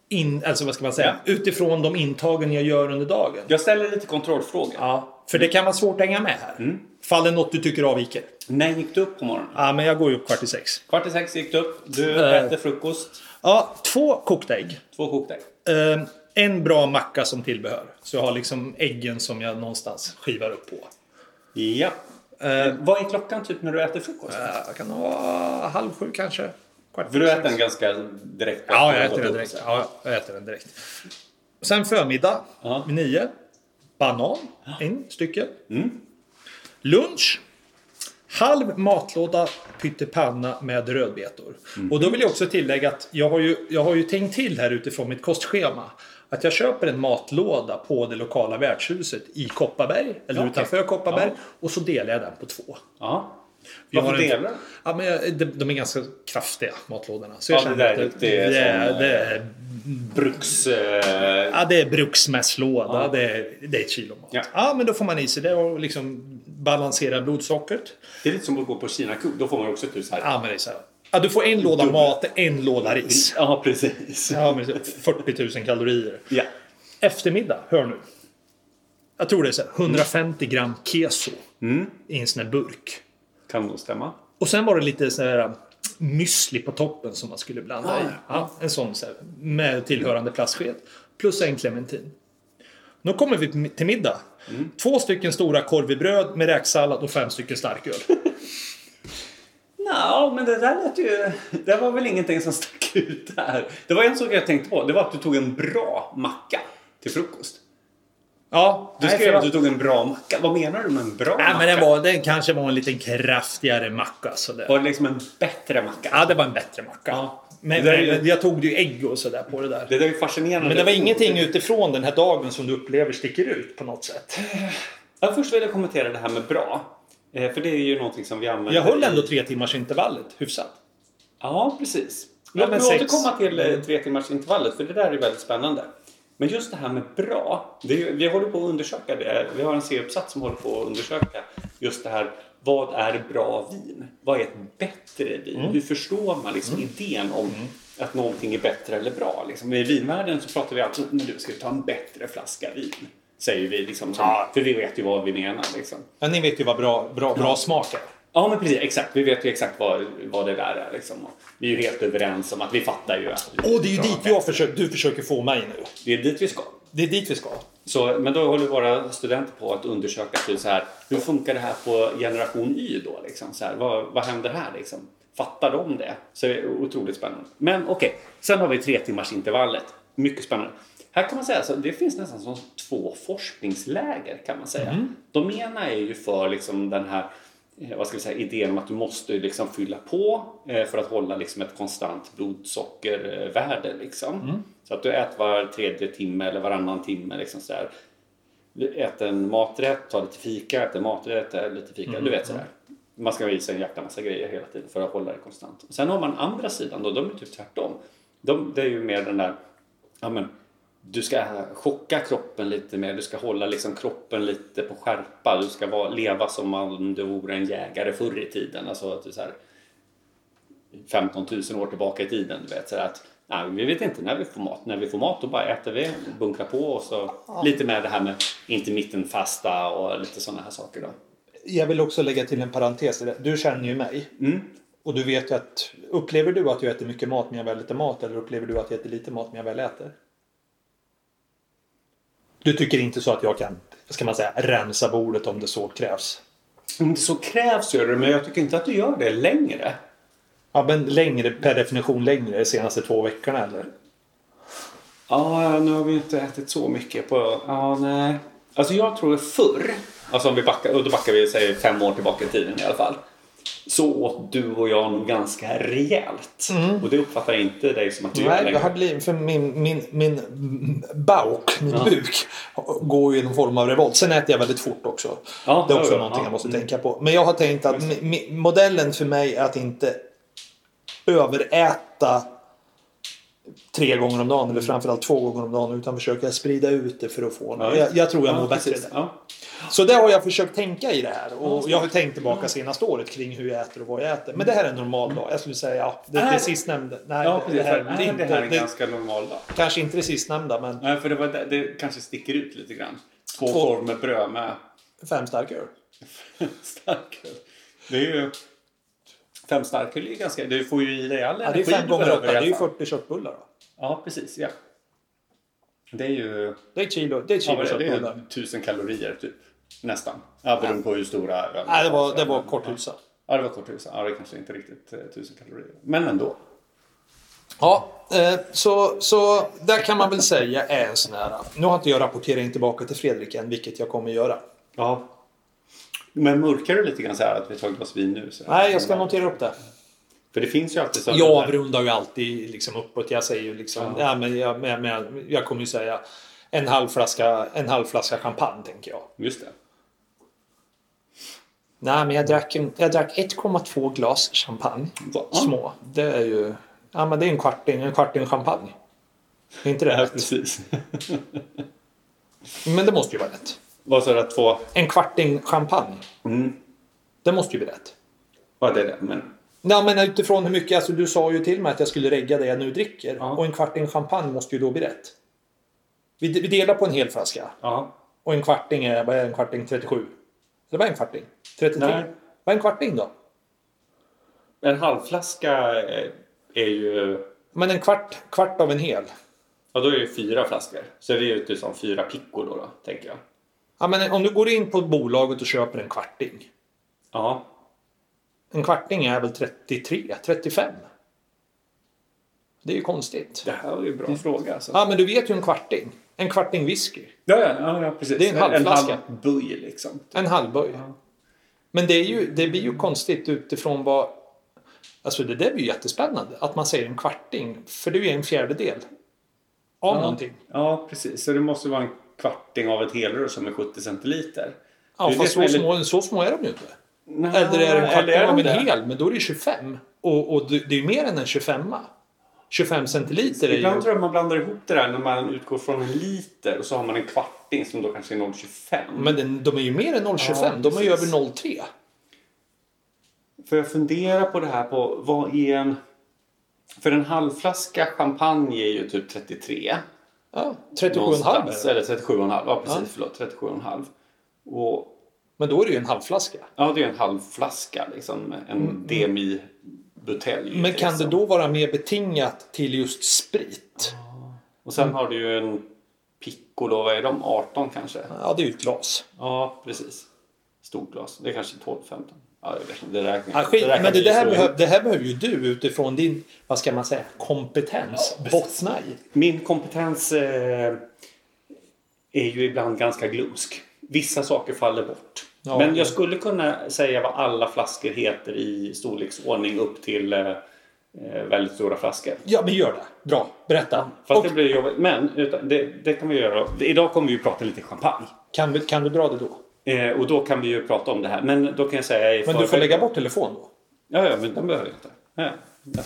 Speaker 2: In, alltså vad ska man säga? Utifrån de intagen jag gör under dagen.
Speaker 1: Jag ställer lite kontrollfrågor.
Speaker 2: Ja, för det kan vara svårt att hänga med här.
Speaker 1: Mm.
Speaker 2: Fall det är något du tycker avviker.
Speaker 1: När gick du upp på morgonen?
Speaker 2: Ja, men jag går ju upp kvart i sex.
Speaker 1: Kvart i sex gick du upp. Du
Speaker 2: Eh.
Speaker 1: äter frukost.
Speaker 2: Ja, två kokta ägg.
Speaker 1: Två kokta ägg.
Speaker 2: Eh, en bra macka som tillbehör. Så jag har liksom äggen som jag någonstans skivar upp på.
Speaker 1: Ja. Vad är klockan typ när du äter frukost?
Speaker 2: Eh, Jag kan ha halv sju kanske. Kvart
Speaker 1: För du
Speaker 2: sex.
Speaker 1: äter den ganska direkt.
Speaker 2: Ja, jag äter den direkt. Ja, jag äter den direkt. Sen förmiddag
Speaker 1: Ja.
Speaker 2: vid nio. Banan, en stycke.
Speaker 1: Mm.
Speaker 2: Lunch. Halv matlåda pyttipanna med rödbetor.
Speaker 1: Mm.
Speaker 2: Och då vill jag också tillägga att jag har, ju, jag har ju tänkt till här utifrån mitt kostschema. Att jag köper en matlåda på det lokala värdshuset i Kopparberg, eller
Speaker 1: okej.
Speaker 2: utanför Kopparberg.
Speaker 1: Ja.
Speaker 2: Och så delar jag den på två.
Speaker 1: Ja.
Speaker 2: Jag
Speaker 1: Varför
Speaker 2: har en-
Speaker 1: delar du?
Speaker 2: Ja, men jag, de, de är ganska kraftiga, matlådorna. Så
Speaker 1: Ja,
Speaker 2: jag
Speaker 1: det
Speaker 2: känner
Speaker 1: där är
Speaker 2: att det,
Speaker 1: lite
Speaker 2: det,
Speaker 1: sån,
Speaker 2: det är
Speaker 1: Bruks... eh,
Speaker 2: Ja, det är bruksmässlåda. Det, är, det är ett kilo mat.
Speaker 1: Ja.
Speaker 2: Ja. men då får man i sig det och liksom balansera blodsockret.
Speaker 1: Det är lite som att gå på Kina Cup. Då får man också typ så här.
Speaker 2: Ja, men det är så här. Ja, du får en låda mat, en låda ris.
Speaker 1: Ja, precis.
Speaker 2: Ja, men det är så här 40 000 kalorier.
Speaker 1: Ja.
Speaker 2: Eftermiddag, hör nu. Jag tror det är så här, 150 gram keso i en sån här burk.
Speaker 1: Kan nog stämma.
Speaker 2: Och sen var det lite så här um, müsli på toppen som man skulle blanda i.
Speaker 1: Ah,
Speaker 2: Ja, en sån så här, med tillhörande plastsked. Plus en clementin. Nu kommer vi till middag. Två stycken stora korv i bröd med räksallad och fem stycken starköl.
Speaker 1: Nja, men det där lät ju... Det var väl ingenting som stack ut där. Det var en sak jag tänkte på. Det var att du tog en bra macka till frukost.
Speaker 2: Ja,
Speaker 1: Du
Speaker 2: nej,
Speaker 1: skrev
Speaker 2: för-
Speaker 1: att du tog en bra macka. Vad menar du med en bra
Speaker 2: Nej,
Speaker 1: macka?
Speaker 2: men den, var, den kanske var en liten kraftigare macka. Så det.
Speaker 1: Var det liksom en bättre macka?
Speaker 2: Ja, det var en bättre macka.
Speaker 1: Ja.
Speaker 2: Men,
Speaker 1: Det där är ju-
Speaker 2: men jag tog ju ägg och sådär på det där.
Speaker 1: Det där är ju fascinerande.
Speaker 2: Men det var ingenting utifrån den här dagen som du upplever sticker ut på något sätt.
Speaker 1: Ja, först vill jag kommentera det här med bra. Eh, För det är ju någonting som vi använder.
Speaker 2: Jag höll
Speaker 1: i-
Speaker 2: ändå tre timmars intervallet hyfsat.
Speaker 1: Ja, precis.
Speaker 2: Ja,
Speaker 1: Låt
Speaker 2: men
Speaker 1: mig
Speaker 2: sex.
Speaker 1: återkomma till eh, tre timmars intervallet för det där är väldigt spännande. Men just det här med bra. Det är, ju- vi håller på att undersöka det. Vi har en C-uppsats som håller på att undersöka just det här. Vad är bra vin? Vad är ett bättre vin?
Speaker 2: Mm.
Speaker 1: Hur förstår man liksom idén om att någonting är bättre eller bra? Liksom, I vinvärlden så pratar vi alltid om att ska vi ta en bättre flaska vin. Säger vi liksom. Som,
Speaker 2: Ja.
Speaker 1: För vi vet ju vad vi menar. Liksom.
Speaker 2: Men ni vet ju vad bra, bra, bra smak är.
Speaker 1: Ja, men precis. Exakt. Vi vet ju exakt vad, vad det där är. Liksom. Och Vi är ju helt överens om att vi fattar ju att
Speaker 2: Och det är ju dit jag försöker, du försöker få mig nu.
Speaker 1: det är dit vi ska.
Speaker 2: Det är dit vi ska.
Speaker 1: Så, men då håller våra studenter på att undersöka typ så här, hur funkar det här på generation Y då? Liksom? Så här, vad, vad händer här? Liksom? Fattar de det? Så det är otroligt spännande. Men okej, sen har vi tre timmars intervallet. Mycket spännande. Här kan man säga så det finns nästan som två forskningsläger kan man säga.
Speaker 2: Mm.
Speaker 1: De ena är ju för liksom den här eh, vad ska vi säga, idén om att du måste ju liksom fylla på eh, för att hålla liksom ett konstant blodsockervärde. Liksom. Så att du äter var tredje timme eller varannan timme. Liksom så där. Du äter en maträtt, tar lite fika, äter en maträtt, äter lite fika. Du vet sådär. Man ska ha i sig en jäkla massa grejer hela tiden för att hålla det konstant. Och sen har man andra sidan då, de är typ tvärtom. De, det är ju mer den där, ja men du ska chocka kroppen lite mer, du ska hålla liksom kroppen lite på skärpa. Du ska vara, leva som om du vore en jägare förr i tiden. Alltså att du så här, 15 000 år tillbaka i tiden. Du vet, så här, att Nej, vi vet inte när vi får mat. När vi får mat då bara äter vi, bunkrar på och så lite med det här med intermittenfasta och lite sådana här saker då.
Speaker 2: Jag vill också lägga till en parentes. i det. Du känner ju mig. Och du vet ju att upplever du att jag äter mycket mat när jag väl äter mat eller upplever du att jag äter lite mat när jag väl äter? Du tycker inte så att jag kan, ska man säga, rensa bordet om det så krävs?
Speaker 1: Om det så krävs gör du det, men jag tycker inte att du gör det längre.
Speaker 2: Ja, men längre, per definition längre de senaste två veckorna eller?
Speaker 1: Ja, nu har vi inte ätit så mycket på... Ja, nej. Alltså jag tror förr, alltså om vi backar, och då backar vi säg fem år tillbaka i tiden i alla fall. Så åt du och jag nog ganska rejält. Och det uppfattar jag inte dig som att du gör
Speaker 2: Nej, det
Speaker 1: längre.
Speaker 2: har blivit för min, min, min bauk, min buk, går ju i någon form av revolt. Sen äter jag väldigt fort också.
Speaker 1: Ja,
Speaker 2: det är också
Speaker 1: ja, ja.
Speaker 2: någonting jag måste
Speaker 1: Mm.
Speaker 2: tänka på. Men jag har tänkt att mi- mi- modellen för mig är att inte överäta tre gånger om dagen eller
Speaker 1: Mm.
Speaker 2: framförallt två gånger om dagen utan försöka sprida ut det för att få
Speaker 1: Ja,
Speaker 2: ja, jag, jag tror jag
Speaker 1: ja,
Speaker 2: mår bättre
Speaker 1: precis.
Speaker 2: där.
Speaker 1: Ja.
Speaker 2: Så det har jag försökt tänka i det här och jag har tänkt tillbaka senaste året kring hur jag äter och vad jag äter. Men det här är en normal dag. Jag skulle säga ja, det, det
Speaker 1: Nej.
Speaker 2: sistnämnda. Nej,
Speaker 1: Ja,
Speaker 2: det, det,
Speaker 1: precis.
Speaker 2: här,
Speaker 1: Nej,
Speaker 2: det, är inte,
Speaker 1: det här är en
Speaker 2: det,
Speaker 1: ganska normal dag.
Speaker 2: Kanske inte det sistnämnda, men
Speaker 1: Nej, för det, var, det, det kanske sticker ut lite grann. Två,
Speaker 2: Två.
Speaker 1: korv med bröd med
Speaker 2: fem starköl.
Speaker 1: starköl. Det är ju... Fem starköl är ju ganska... Du får ju i dig all
Speaker 2: Ja, det är
Speaker 1: energi
Speaker 2: fem
Speaker 1: du
Speaker 2: gånger
Speaker 1: behöver
Speaker 2: åtta,
Speaker 1: i
Speaker 2: det är
Speaker 1: alla
Speaker 2: ju
Speaker 1: fall.
Speaker 2: 40 köttbullar. Då.
Speaker 1: Ja, precis. Ja. Det är ju...
Speaker 2: Det är ett kilo, det är ett
Speaker 1: Ja, vad
Speaker 2: kilo
Speaker 1: är det? det
Speaker 2: köttbullar.
Speaker 1: är tusen kalorier typ. Nästan. Ja, beroende på hur stora...
Speaker 2: Nej, det var, det var korthusa.
Speaker 1: Ja, det var korthusa. Ja, det kanske inte riktigt eh, tusen kalorier. Men ändå.
Speaker 2: Ja, eh, så, så där kan man väl säga är en sån här... Nu har inte jag rapportering tillbaka till Fredrik än, vilket jag kommer göra.
Speaker 1: Ja. Men mörkar du lite grann så här att vi tagit oss vin nu? Så här?
Speaker 2: Nej, jag ska notera upp det.
Speaker 1: För det finns ju alltid så
Speaker 2: Jag avrundar ju alltid liksom uppåt. Jag säger ju liksom... Ja. men jag, men, men, jag kommer ju säga en halv, flaska, en halv flaska champagne, tänker jag.
Speaker 1: Just det.
Speaker 2: Nej, men jag drack, en- jag drack 1,2 glas champagne.
Speaker 1: Va?
Speaker 2: Små. Det är ju... Ja, men det är en kvarting, en kvarting champagne. Är inte det
Speaker 1: Ja,
Speaker 2: rätt?
Speaker 1: precis.
Speaker 2: Men det måste ju vara rätt.
Speaker 1: Vad sa du att två...
Speaker 2: En kvarting champagne.
Speaker 1: Mm.
Speaker 2: Det måste ju bli rätt.
Speaker 1: Ja, det är det. Men...
Speaker 2: Nej, men utifrån hur mycket... Alltså, du sa ju till mig att jag skulle regga det jag nu dricker.
Speaker 1: Ja.
Speaker 2: Och en kvarting champagne måste ju då bli rätt. Vi, vi delar på en hel flaska.
Speaker 1: Ja.
Speaker 2: Och en kvarting är... Vad är en kvarting? 37? Eller vad är en kvarting? 33?
Speaker 1: Nej.
Speaker 2: Vad är en kvarting då?
Speaker 1: En halvflaska eh, är ju...
Speaker 2: Men en kvart, kvart av en hel.
Speaker 1: Ja, då är det ju fyra flaskor. Så vi är ute som fyra pickor då, då tänker jag.
Speaker 2: Ja, men om du går in på bolaget och köper en kvarting.
Speaker 1: Ja.
Speaker 2: En kvarting är väl 33, 35? Det är ju konstigt.
Speaker 1: Det här var ju en bra fråga alltså.
Speaker 2: Ja, men du vet ju en kvarting. En kvarting whisky.
Speaker 1: Ja, ja, ja, ja precis.
Speaker 2: Det är en halvflaska.
Speaker 1: En halv buj liksom.
Speaker 2: En halvböj. Men det, är ju, det blir ju konstigt utifrån vad... Alltså det där blir ju jättespännande. Att man säger en kvarting. För det är ju en fjärdedel. Av någonting.
Speaker 1: Ja, precis. Så det måste vara en kvarting av ett helrör som är 70 centiliter.
Speaker 2: Ja,
Speaker 1: Det är det
Speaker 2: fast
Speaker 1: som
Speaker 2: så,
Speaker 1: är lite-
Speaker 2: små, så små är de ju inte.
Speaker 1: Nej,
Speaker 2: Eller är
Speaker 1: eller
Speaker 2: det en
Speaker 1: är
Speaker 2: kvarting
Speaker 1: de
Speaker 2: av en
Speaker 1: det?
Speaker 2: hel. Men då är det 25. Och, och det det är ju mer än en 25 25 centiliter är ju...
Speaker 1: Ibland tror jag man blandar ihop det där när man utgår från en liter och så har man en kvarting som då kanske är 0,25.
Speaker 2: Men den, de är ju mer än 0,25.
Speaker 1: Ja,
Speaker 2: de är ju över
Speaker 1: precis.
Speaker 2: 0,3.
Speaker 1: För jag funderar på det här på vad är en... För en halvflaska champagne är ju typ 33.
Speaker 2: Ja, 37,5 är
Speaker 1: någonstans.
Speaker 2: det.
Speaker 1: Eller 37,5. Ja, precis. Förlåt. 37,5. Och
Speaker 2: Men då är det ju en halvflaska.
Speaker 1: ja, det är en halvflaska liksom. En demi-butelj.
Speaker 2: Mm. Men kan det
Speaker 1: liksom.
Speaker 2: då vara mer betingat till just sprit?
Speaker 1: Och sen har du ju en piccolo. Vad är de? 18 kanske?
Speaker 2: Ja, det är ju ett glas.
Speaker 1: Ja, precis. Stort glas. Det är kanske 12-15. Ja, jag vet inte. Det räknar
Speaker 2: Ja, skit,
Speaker 1: räknar
Speaker 2: men det,
Speaker 1: vi
Speaker 2: det, här
Speaker 1: så ihop.
Speaker 2: behöv, det här behöver ju du utifrån din, vad ska man säga, kompetens bottna i.
Speaker 1: Min kompetens eh, är ju ibland ganska glömsk. Vissa saker faller bort.
Speaker 2: Ja.
Speaker 1: Men jag skulle kunna säga vad alla flaskor heter i storleksordning upp till eh, eh, väldigt stora flaskor.
Speaker 2: Ja, men gör det. Bra. Berätta.
Speaker 1: Fast
Speaker 2: Och
Speaker 1: det blir jobbigt. Men utan, det, det kan vi göra. Idag kommer vi ju prata lite champagne.
Speaker 2: kan, vi, kan du dra det då?
Speaker 1: Eh, och då kan vi ju prata om det här. Men då kan jag säga... i
Speaker 2: Men du får
Speaker 1: förväg-
Speaker 2: lägga bort telefon då.
Speaker 1: Ja, ja, men den behöver jag inte.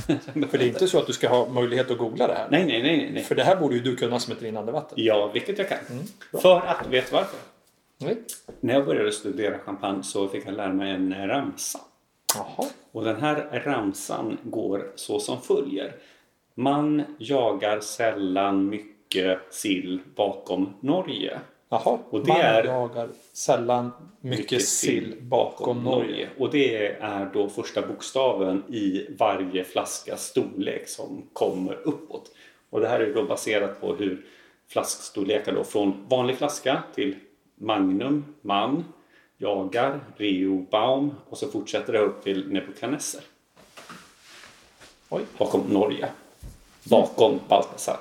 Speaker 1: Ja.
Speaker 2: För det är inte så att du ska ha möjlighet att googla det här.
Speaker 1: Nej, nej, nej, nej, nej.
Speaker 2: För det här borde ju du kunna som ett rinnande vatten.
Speaker 1: Ja, vilket jag kan. För att, vet du varför?
Speaker 2: Nej.
Speaker 1: När jag började studera champagne så fick jag lära mig en ramsa.
Speaker 2: Jaha.
Speaker 1: Och den här ramsan går så som följer. Man jagar sällan mycket sill bakom Norge.
Speaker 3: Jaha,
Speaker 1: Och det
Speaker 3: man
Speaker 1: är-
Speaker 3: jagar sällan mycket, sill bakom Norge.
Speaker 1: Och det är då första bokstaven i varje flaska storlek som kommer uppåt. Och det här är då baserat på hur flaskstorlekar då från vanlig flaska till Magnum, Man, Jagar, Rio, Baum och så fortsätter det upp till Nebukadnessar.
Speaker 3: Oj.
Speaker 1: Bakom Norge. Bakom Baltasar.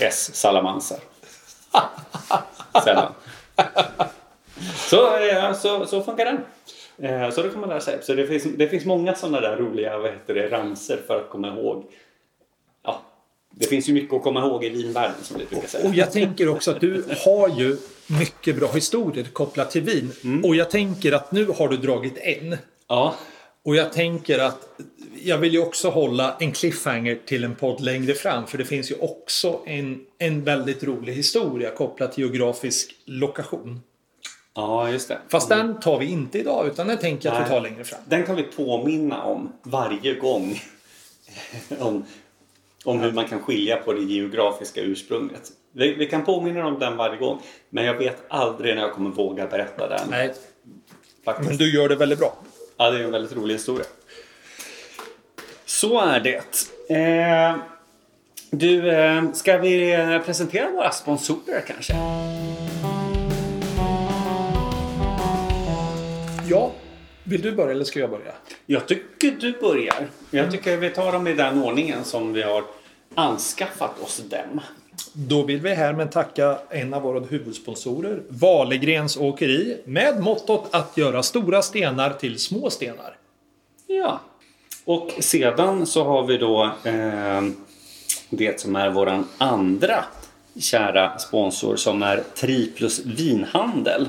Speaker 1: S. Salamansar. Sällan. Så, eh, så, så funkar den. Eh, Så det kan man lära sig. Så det finns, det finns många sådana där roliga vad heter det, ramser för att komma ihåg. Ja, det finns ju mycket att komma ihåg i vinvärlden som vi brukar säga.
Speaker 2: Och jag tänker också att du har ju mycket bra historier kopplat till vin. Och jag tänker att nu har du dragit en.
Speaker 1: Ja,
Speaker 2: Och jag tänker att jag vill ju också hålla en cliffhanger till en podd längre fram. För det finns ju också en, en väldigt rolig historia kopplat till geografisk lokation.
Speaker 1: ja just det.
Speaker 2: Fast den tar vi inte idag utan den tänker jag att vi
Speaker 1: Nej.
Speaker 2: tar längre fram.
Speaker 1: Den kan vi påminna om varje gång. om, om hur man kan skilja på det geografiska ursprunget. Vi, vi kan påminna om den varje gång. Men jag vet aldrig när jag kommer våga berätta den.
Speaker 2: Nej,
Speaker 1: faktiskt.
Speaker 2: men du gör det väldigt bra.
Speaker 1: Ja, det är en väldigt rolig historia. Så är det. Eh, du, eh, ska vi eh, presentera våra sponsorer kanske?
Speaker 2: Ja, vill du börja eller ska jag börja?
Speaker 1: Jag tycker du börjar. Jag tycker vi tar dem i den ordningen som vi har anskaffat oss dem.
Speaker 2: Då vill vi härmed tacka en av våra huvudsponsorer, Valegrens Åkeri, med mottot att göra stora stenar till små stenar.
Speaker 1: Ja. Och sedan så har vi då eh, det som är våran andra kära sponsor som är Triplus Vinhandel.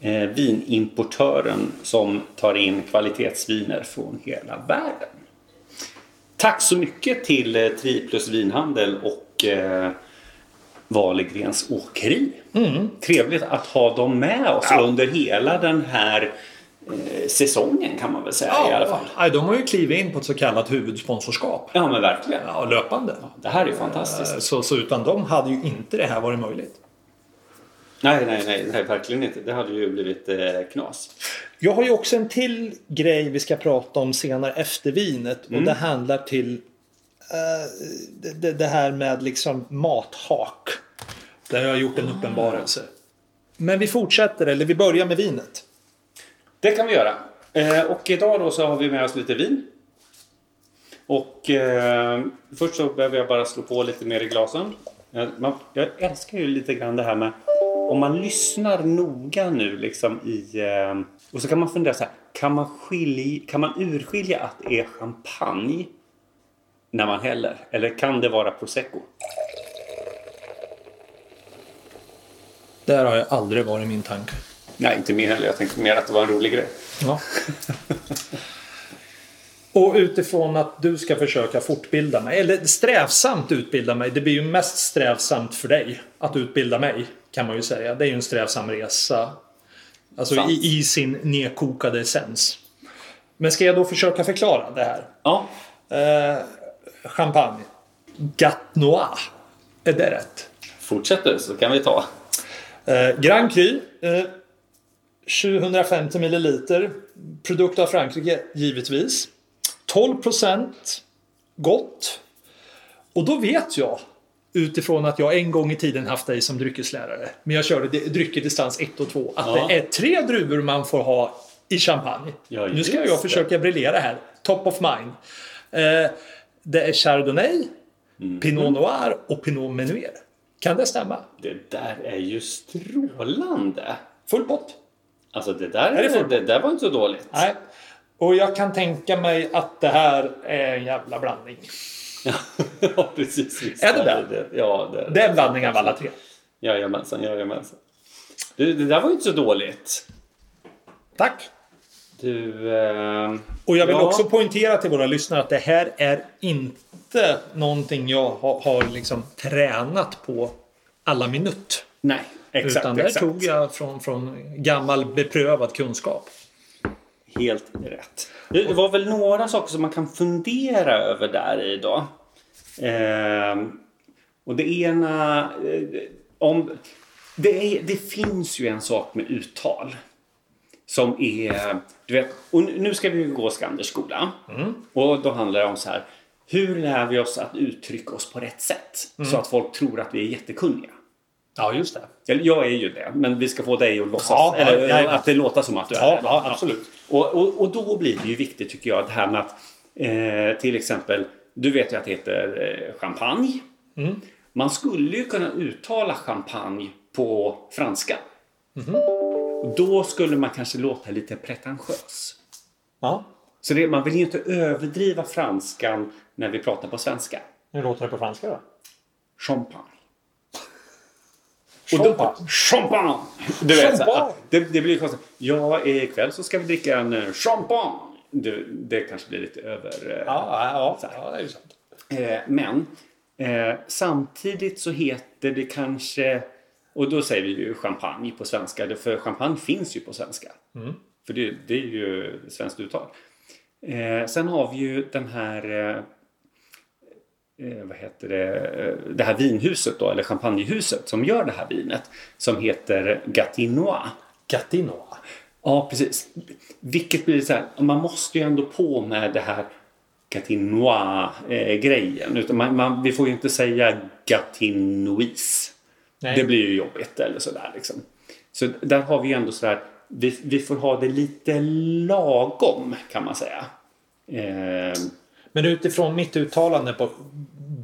Speaker 1: Eh, vinimportören som tar in kvalitetsviner från hela världen. Tack så mycket till eh, Triplus Vinhandel och eh, Valegrens Åkeri. Trevligt att ha dem med oss under hela den här eh, säsongen kan man väl säga i alla fall.
Speaker 2: nej, de har ju klivit in på ett så kallat huvudsponsorskap.
Speaker 1: Ja men verkligen.
Speaker 2: Ja, löpande.
Speaker 1: Det här är ju fantastiskt.
Speaker 2: Eh, Så, så utan dem hade ju inte det här varit möjligt.
Speaker 1: Nej, nej, nej, nej, verkligen inte. Det hade ju blivit eh, knas.
Speaker 2: Jag har ju också en till grej vi ska prata om senare efter vinet
Speaker 1: Mm.
Speaker 2: och det handlar till eh, det- det, det här med liksom mathak. Där jag har gjort en uppenbarelse. Men vi fortsätter, eller vi börjar med vinet.
Speaker 1: Det kan vi göra. Eh, och idag då så har vi med oss lite vin. Och eh, först så behöver jag bara slå på lite mer i glasen. Eh, man, jag älskar ju lite grann det här med om man lyssnar noga nu liksom i... Eh, och så kan man fundera så här. Kan man, skilja, kan man urskilja att det är champagne när man häller? Eller kan det vara prosecco?
Speaker 2: Där har jag aldrig varit min tanke.
Speaker 1: Nej, inte min heller. Jag tänkte mer att det var en rolig grej.
Speaker 2: Ja. Och utifrån att du ska försöka fortbilda mig, eller strävsamt utbilda mig. Det blir ju mest strävsamt för dig att utbilda mig, kan man ju säga. Det är ju en strävsam resa. Alltså
Speaker 1: Sant.
Speaker 2: i, i sin nedkokade essens. Men ska jag då försöka förklara det här?
Speaker 1: Ja,
Speaker 2: Eh, champagne. Gat Noir. Är det rätt?
Speaker 1: fortsätter så kan vi ta.
Speaker 2: Eh, Grand Cru. Eh, 750 milliliter. Produkt av Frankrike, givetvis. 12 procent. Gott. Och då vet jag, utifrån att jag en gång i tiden haft dig som dryckeslärare, men jag körde di- drycker distans 1 och 2, att
Speaker 1: Ja.
Speaker 2: det är tre druvor man får ha i champagne.
Speaker 1: Ja,
Speaker 2: nu ska
Speaker 1: just
Speaker 2: jag
Speaker 1: det.
Speaker 2: försöka briljera här. Top of mind. Eh, det är Chardonnay,
Speaker 1: Mm.
Speaker 2: Pinot Noir och Pinot Menuer. Kan det stämma?
Speaker 1: Det där är ju strålande!
Speaker 2: Full pott.
Speaker 1: Alltså det där,
Speaker 2: Är det fullt?
Speaker 1: det där var inte så dåligt.
Speaker 2: Nej. Och jag kan tänka mig att det här är en jävla blandning.
Speaker 1: ja, precis. visst
Speaker 2: Är det där?
Speaker 1: Ja, det är
Speaker 2: Det
Speaker 1: det.
Speaker 2: är en blandning av alla tre.
Speaker 1: Jajamensan, jajamensan. Du, det där var ju inte så dåligt.
Speaker 2: Tack!
Speaker 1: Du... Eh,
Speaker 2: Och jag vill
Speaker 1: ja,
Speaker 2: också poängtera till våra lyssnare att det här är inte någonting jag har, har liksom tränat på alla minut.
Speaker 1: Nej, exakt.
Speaker 2: Utan det
Speaker 1: exakt.
Speaker 2: tog jag från, från gammal beprövad kunskap.
Speaker 1: Helt rätt. Det det var väl några saker som man kan fundera över där i då. Ehm, och det ena... eh, Om, det, är, det finns ju en sak med uttal. Som är... Du vet, och nu nu ska vi ju gå Skanders skola.
Speaker 2: Mm.
Speaker 1: Och då handlar det om så här. Hur lär vi oss att uttrycka oss på rätt sätt?
Speaker 2: Mm.
Speaker 1: Så att folk tror att vi är jättekunniga.
Speaker 2: Ja, just det.
Speaker 1: Eller, Jag är ju det, men vi ska få dig att låtsas,
Speaker 2: Ja, ja,
Speaker 1: eller,
Speaker 2: ja, ja.
Speaker 1: att det låter som att du är
Speaker 2: Ja,
Speaker 1: det.
Speaker 2: ja, absolut.
Speaker 1: Och, och, och då blir det ju viktigt tycker jag det här med att eh, till exempel, du vet ju att det heter eh, champagne.
Speaker 2: Mm.
Speaker 1: Man skulle ju kunna uttala champagne på franska.
Speaker 2: Mm-hmm.
Speaker 1: Och Då skulle man kanske låta lite pretentiös.
Speaker 2: Ja.
Speaker 1: Så det, man vill ju inte överdriva franskan när vi pratar på svenska.
Speaker 2: Hur låter det på franska då?
Speaker 1: Champagne.
Speaker 2: Champagne.
Speaker 1: Och då, champagne! Du vet, så,
Speaker 2: Champagne.
Speaker 1: ja, det, det blir ju konstigt. Ja, ikväll så ska vi dricka en eh, champagne. Du, det kanske blir lite över... eh,
Speaker 2: Ja, ja, ja. ja det är ju sant.
Speaker 1: Eh, men eh, samtidigt så heter det kanske... Och då säger vi ju champagne på svenska. det- För champagne finns ju på svenska. För det, det är ju svenskt uttal. Eh, sen har vi ju den här... eh, Eh, vad heter det? Eh, Det här vinhuset då, eller champagnehuset som gör det här vinet. Som heter Gatinois.
Speaker 2: Gatinoa.
Speaker 1: Ja, precis. Vilket blir så här, man måste ju ändå på med det här Gatinois-grejen. Utan man, man, vi får ju inte säga Gatinois.
Speaker 2: Nej.
Speaker 1: Det blir ju jobbigt eller sådär liksom. Så där har vi ju ändå sådär, vi, vi får ha det lite lagom kan man säga. Eh,
Speaker 2: Men utifrån mitt uttalande på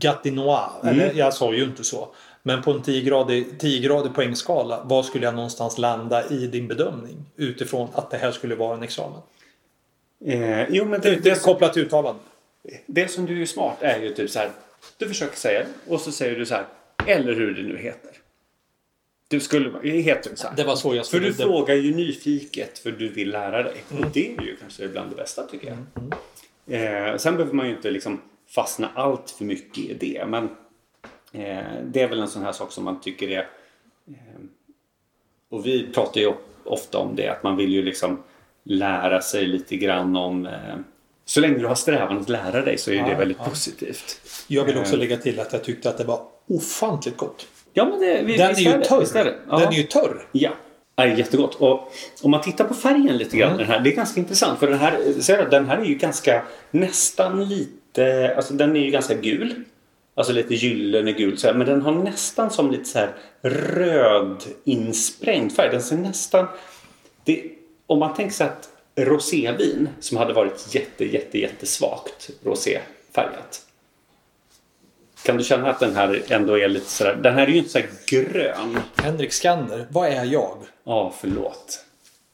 Speaker 2: Gatinoa,
Speaker 1: Mm.
Speaker 2: eller jag sa ju inte så. Men på en 10-gradig 10 poängskala, var skulle jag någonstans landa i din bedömning? Utifrån att det här skulle vara en examen.
Speaker 1: eh, jo men
Speaker 2: Det är kopplat till uttalande.
Speaker 1: Det som du är smart är ju typ så här. Du försöker säga det och så säger du så här. Eller hur det nu heter. Du skulle heter det så här.
Speaker 2: Det var så jag
Speaker 1: För
Speaker 2: skulle-
Speaker 1: du frågar ju nyfiket för du vill lära dig.
Speaker 2: Mm.
Speaker 1: Och det är ju kanske bland det bästa tycker jag.
Speaker 2: mm.
Speaker 1: Eh, sen behöver man ju inte liksom fastna allt för mycket i det. Men eh, det är väl en sån här sak som man tycker är... Eh, och vi pratar ju ofta om det att man vill ju liksom lära sig lite grann om... Eh, så länge du har strävan att lära dig så är det väldigt positivt.
Speaker 2: Jag vill
Speaker 1: Eh.
Speaker 2: också lägga till att jag tyckte att det var ofantligt gott.
Speaker 1: Ja, men det, vi,
Speaker 2: Den är
Speaker 1: visst
Speaker 2: ju
Speaker 1: det,
Speaker 2: törr.
Speaker 1: visst är det. Ja.
Speaker 2: Den är ju törr.
Speaker 1: Ja, det är jättegott. Och om man tittar på färgen lite grann, den här, det är ganska intressant. För den här, ser jag, den här är ju ganska, nästan lite, alltså den är ju ganska gul. Alltså lite gyllene gul så här, men den har nästan som lite så här röd insprängd färg. Den ser nästan... Det, om man tänker sig att rosévin som hade varit jätte, jätte, jättesvagt roséfärgat. Kan du känna att den här ändå är lite sådär, den här är ju inte så här grön.
Speaker 2: Henrik Skander, vad är jag?
Speaker 1: Ja, förlåt.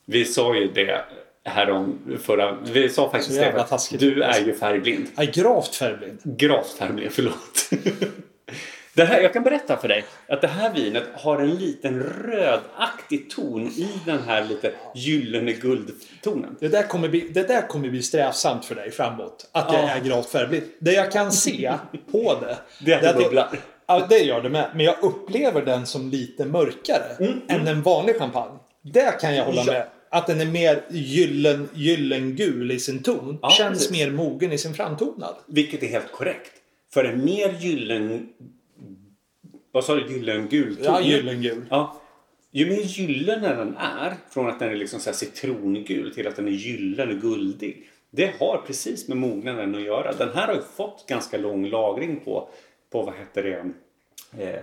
Speaker 1: Vi sa ju det här om förra... Vi sa faktiskt
Speaker 2: Så jävla
Speaker 1: det.
Speaker 2: taskigt.
Speaker 1: Du är ju färgblind.
Speaker 2: Jag är gravt färgblind.
Speaker 1: Gravt färgblind, förlåt. Det här, jag kan berätta för dig att det här vinet har en liten rödaktig ton i den här lite gyllene guldtonen.
Speaker 2: Det där kommer bli, det där kommer bli strävsamt för dig framåt. Att jag
Speaker 1: Ja.
Speaker 2: är gravt färgblind. Det jag kan se på det.
Speaker 1: Det är att det
Speaker 2: jag-
Speaker 1: bubblar.
Speaker 2: Ja, det gör det med. Men jag upplever den som lite mörkare än en vanlig champagne. Det kan jag hålla
Speaker 1: Mm. Ja.
Speaker 2: med. Att den är mer gyllen, gyllengul i sin ton.
Speaker 1: Ja,
Speaker 2: Känns
Speaker 1: precis.
Speaker 2: mer mogen i sin framtonad.
Speaker 1: Vilket är helt korrekt. För en mer gyllen... Vad sa du? Gyllengul ton?
Speaker 2: Ja, gyllengul.
Speaker 1: Ja. Ju mer gyllene den är, från att den är liksom så här citrongul till att den är gyllene och guldig. Det har precis med mognaden att göra. Den här har ju fått ganska lång lagring på, på vad heter det, eh,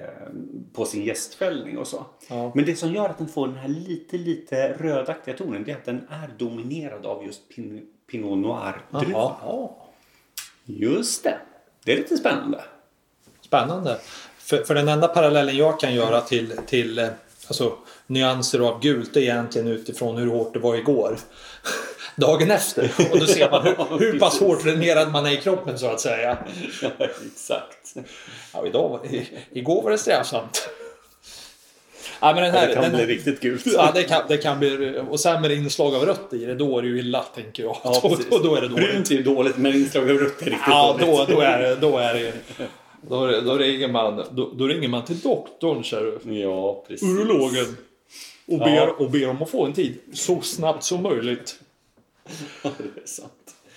Speaker 1: på sin gästfällning och så.
Speaker 2: Ja.
Speaker 1: Men det som gör att den får den här lite, lite rödaktiga tonen det är att den är dominerad av just pin, Pinot Noir-druvan.
Speaker 2: Jaha.
Speaker 1: Just det. Det är lite spännande.
Speaker 2: Spännande. För, för den enda parallellen jag kan
Speaker 1: Mm.
Speaker 2: göra till, till eh, alltså, nyanser av gult är egentligen utifrån hur hårt det var igår. Dagen efter. Och då ser man hur, hur pass hårt dränerad man är i kroppen så att säga.
Speaker 1: Ja, Exakt.
Speaker 2: Ja, idag, var- i, igår var det strävsamt. Ja, men den här,
Speaker 1: Det kan
Speaker 2: den,
Speaker 1: bli riktigt gult.
Speaker 2: Ja, det kan, det kan bli, och sen med det inslag av rött i det, då är det ju illa tänker jag.
Speaker 1: Ja,
Speaker 2: då,
Speaker 1: precis.
Speaker 2: då, då är det dåligt.
Speaker 1: Brunt är ju dåligt, men inslag av rött är riktigt
Speaker 2: Ja,
Speaker 1: dåligt.
Speaker 2: då, då är det... Då, är det, då, är det- då, ringer, man, då, då ringer man till doktorn, ser du.
Speaker 1: Ja, precis.
Speaker 2: urologen och
Speaker 1: Ja.
Speaker 2: ber, och ber om att få en tid så snabbt som möjligt.
Speaker 1: Ja, det är sant.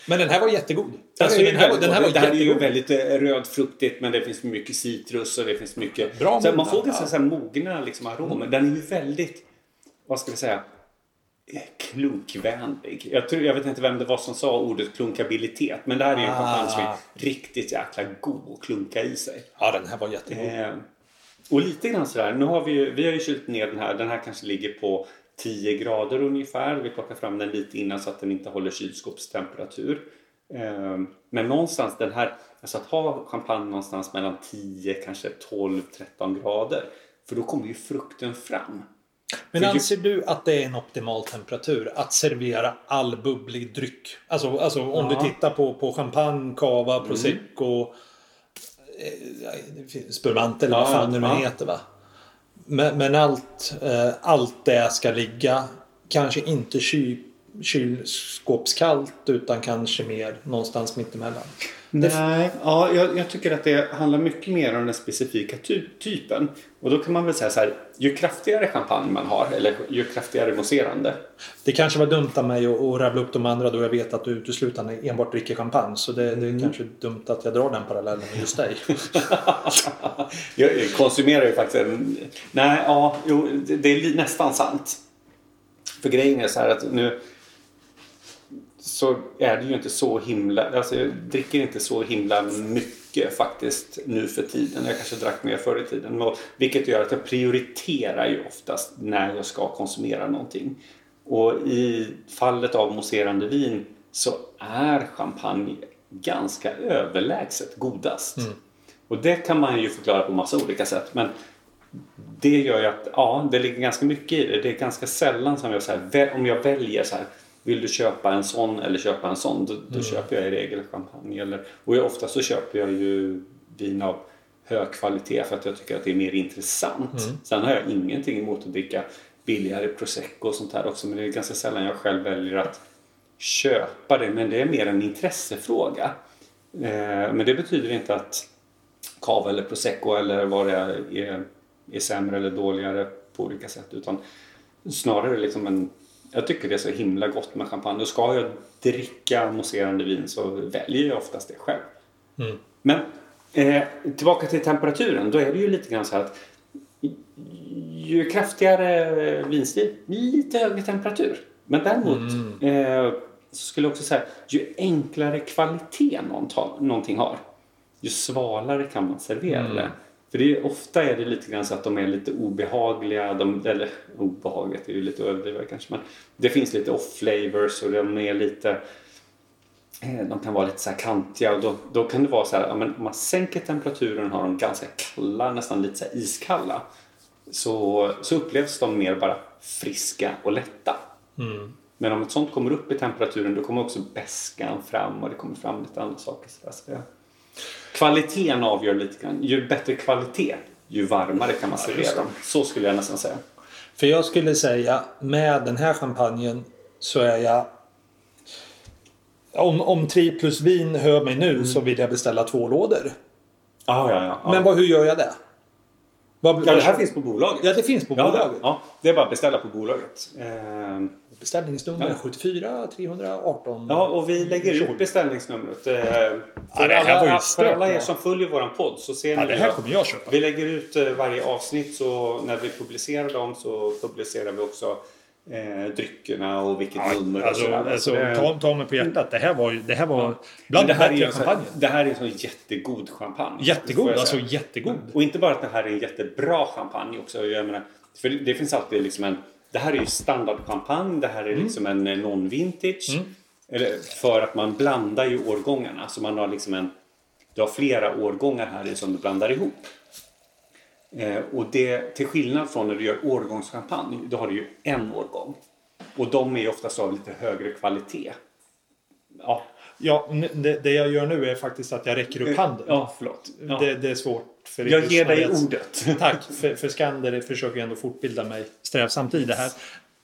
Speaker 2: Men den här var jättegod.
Speaker 1: Den
Speaker 2: Alltså,
Speaker 1: är ju
Speaker 2: den, här, var-
Speaker 1: väldigt
Speaker 2: den här var
Speaker 1: god. det här är ju
Speaker 2: jättegod.
Speaker 1: väldigt eh, rödfruktigt men det finns mycket citrus och det finns mycket...
Speaker 2: Bra Mm.
Speaker 1: så här, man
Speaker 2: mognad,
Speaker 1: får ganska
Speaker 2: ja.
Speaker 1: så här mogna liksom, aromer. Den är ju väldigt, vad ska vi säga, eh, klunkvänlig. Jag, tror, jag vet inte vem det var som sa ordet klunkabilitet men det här är ju en
Speaker 2: Ah.
Speaker 1: champagne som är riktigt jäkla god att klunka i sig.
Speaker 2: Ja, den här var jättegod.
Speaker 1: Eh, och lite grann sådär, nu har vi ju, vi har ju kylt ner den här. Den här kanske ligger på 10 grader ungefär. Vi plockar fram den lite innan så att den inte håller kylskåpstemperatur. Eh, men någonstans den här, alltså att ha champagne någonstans mellan 10, kanske 12, 13 grader. För då kommer ju frukten fram.
Speaker 2: Men
Speaker 1: För ju-
Speaker 2: anser du att det är en optimal temperatur att servera all bubblig dryck? Alltså, alltså om
Speaker 1: Ja. Mm.
Speaker 2: du tittar på, på champagne, cava, prosecco, eh, det finns spumante eller vad
Speaker 1: Ja,
Speaker 2: fan det nu
Speaker 1: ja.
Speaker 2: heter va? Men, men allt, eh, allt det ska ligga, kanske inte ky, kylskåpskallt utan kanske mer någonstans mittemellan.
Speaker 1: Nej, ja, jag, jag tycker att det handlar mycket mer om den specifika ty- typen. Och då kan man väl säga så här, ju kraftigare champagne man har eller ju kraftigare mousserande
Speaker 2: Det kanske var dumt av mig att att rabbla upp de andra då jag vet att du uteslutande enbart dricker champagne. Så det, det är
Speaker 1: Mm.
Speaker 2: kanske dumt att jag drar den parallellen med just dig.
Speaker 1: Jag konsumerar ju faktiskt en... Nej, ja, jo, det det är li- nästan sant. För grejen är så här att nu så är det ju inte så himla... Alltså jag dricker inte så himla mycket faktiskt nu för tiden. Jag kanske drack mer förr i tiden. Och, vilket gör att jag prioriterar ju oftast när jag ska konsumera någonting. Och i fallet av mousserande vin så är champagne ganska överlägset godast. Och det kan man ju förklara på massa olika sätt. Men det gör ju att ja, det ligger ganska mycket i det. Det är ganska sällan som jag så här, vä- om jag väljer så här, vill du köpa en sån eller köpa en sån? Då, då köper jag i regel champagne. Eller, och jag, ofta så köper jag ju vin av hög kvalitet för att jag tycker att det är mer intressant. Sen har jag ingenting emot att dricka billigare prosecco och sånt här också. Men det är ganska sällan jag själv väljer att köpa det. Men det är mer en intressefråga. Eh, men det betyder inte att cava eller prosecco eller vad det är, är, är sämre eller dåligare på olika sätt. Utan snarare liksom en... Jag tycker det är så himla gott med champagne. Och ska jag dricka mousserande vin så väljer jag oftast det själv. Men eh, tillbaka till temperaturen. Då är det ju lite grann så här att ju kraftigare vinstil, lite högre temperatur. Men däremot eh, så skulle jag också säga ju enklare kvalitet någon ta- någonting har ju svalare kan man servera det. För det är, ju- ofta är det lite grann så att de är lite obehagliga. De, eller obehagligt är ju lite att överdriva kanske. Men det finns lite off-flavors och de är lite... eh, De kan vara lite så här kantiga och då, då kan det vara så här, ja, men om man sänker temperaturen har de ganska kalla, nästan lite så här iskalla. Så, så upplevs de mer bara friska och lätta. Men om ett sånt kommer upp i temperaturen då kommer också beskan fram och det kommer fram lite andra saker. Så där, så det, Kvaliteten avgör lite grann. Ju bättre kvalitet, ju varmare kan man servera dem. Så skulle jag nästan säga.
Speaker 2: För jag skulle säga, med den här champagnen så är jag... Om, om Triplus vin hör mig nu så
Speaker 4: Mm.
Speaker 2: vill jag beställa två lådor.
Speaker 1: Ah, ja, ja, ja.
Speaker 2: Men vad, hur gör jag det? Vad,
Speaker 1: ja, det här finns på bolaget.
Speaker 2: Ja, det finns på
Speaker 1: Ja,
Speaker 2: bolaget.
Speaker 1: Ja, det är bara att beställa på bolaget. Ehm,
Speaker 2: Beställningsnummer
Speaker 1: Ja.
Speaker 2: 74 318.
Speaker 1: Ja, och vi lägger ut beställningsnumret. eh, För,
Speaker 4: Ja, det här var ju
Speaker 1: alla, för
Speaker 4: stört,
Speaker 1: alla er
Speaker 4: ja.
Speaker 1: som följer vår podd så ser
Speaker 4: Ja,
Speaker 1: ni
Speaker 4: det
Speaker 1: ju
Speaker 4: här
Speaker 1: att
Speaker 4: kommer jag köpa.
Speaker 1: Vi lägger ut eh, varje avsnitt så när vi publicerar dem så publicerar vi också eh, dryckerna och vilket nummer och
Speaker 4: Alltså,
Speaker 1: sådär.
Speaker 4: alltså,
Speaker 1: Så det-
Speaker 4: ta, ta mig på hjärtat. Det här var, ju- det här var
Speaker 1: Men
Speaker 4: bland
Speaker 1: det
Speaker 4: de
Speaker 1: här är ju
Speaker 4: bättre
Speaker 1: en sån-
Speaker 4: champagne.
Speaker 1: det här är en sån jättegod champagne.
Speaker 4: Jättegod,
Speaker 1: får jag
Speaker 4: alltså
Speaker 1: säga.
Speaker 4: jättegod.
Speaker 1: Och inte bara att det här är en jättebra champagne också. Jag menar, för det finns alltid liksom en... Det här är ju standardchampagne. Det här är
Speaker 4: Mm.
Speaker 1: liksom en eh, non-vintage. Eller För att man blandar ju årgångarna. Så man har liksom en... Du har flera årgångar här i som du blandar ihop. Eh, och det, till skillnad från när du gör årgångschampagne, då har du ju en årgång. Och de är ju oftast av lite högre kvalitet. Ja,
Speaker 4: Ja, n- det, det jag gör nu är faktiskt att jag räcker upp handen.
Speaker 1: ja förlåt. Ja.
Speaker 4: Det, det är svårt för er
Speaker 1: Jag ger dig
Speaker 4: lyssnare att-
Speaker 1: ordet.
Speaker 4: Tack, för, för Skander försöker jag ändå fortbilda mig strävsamt i det här.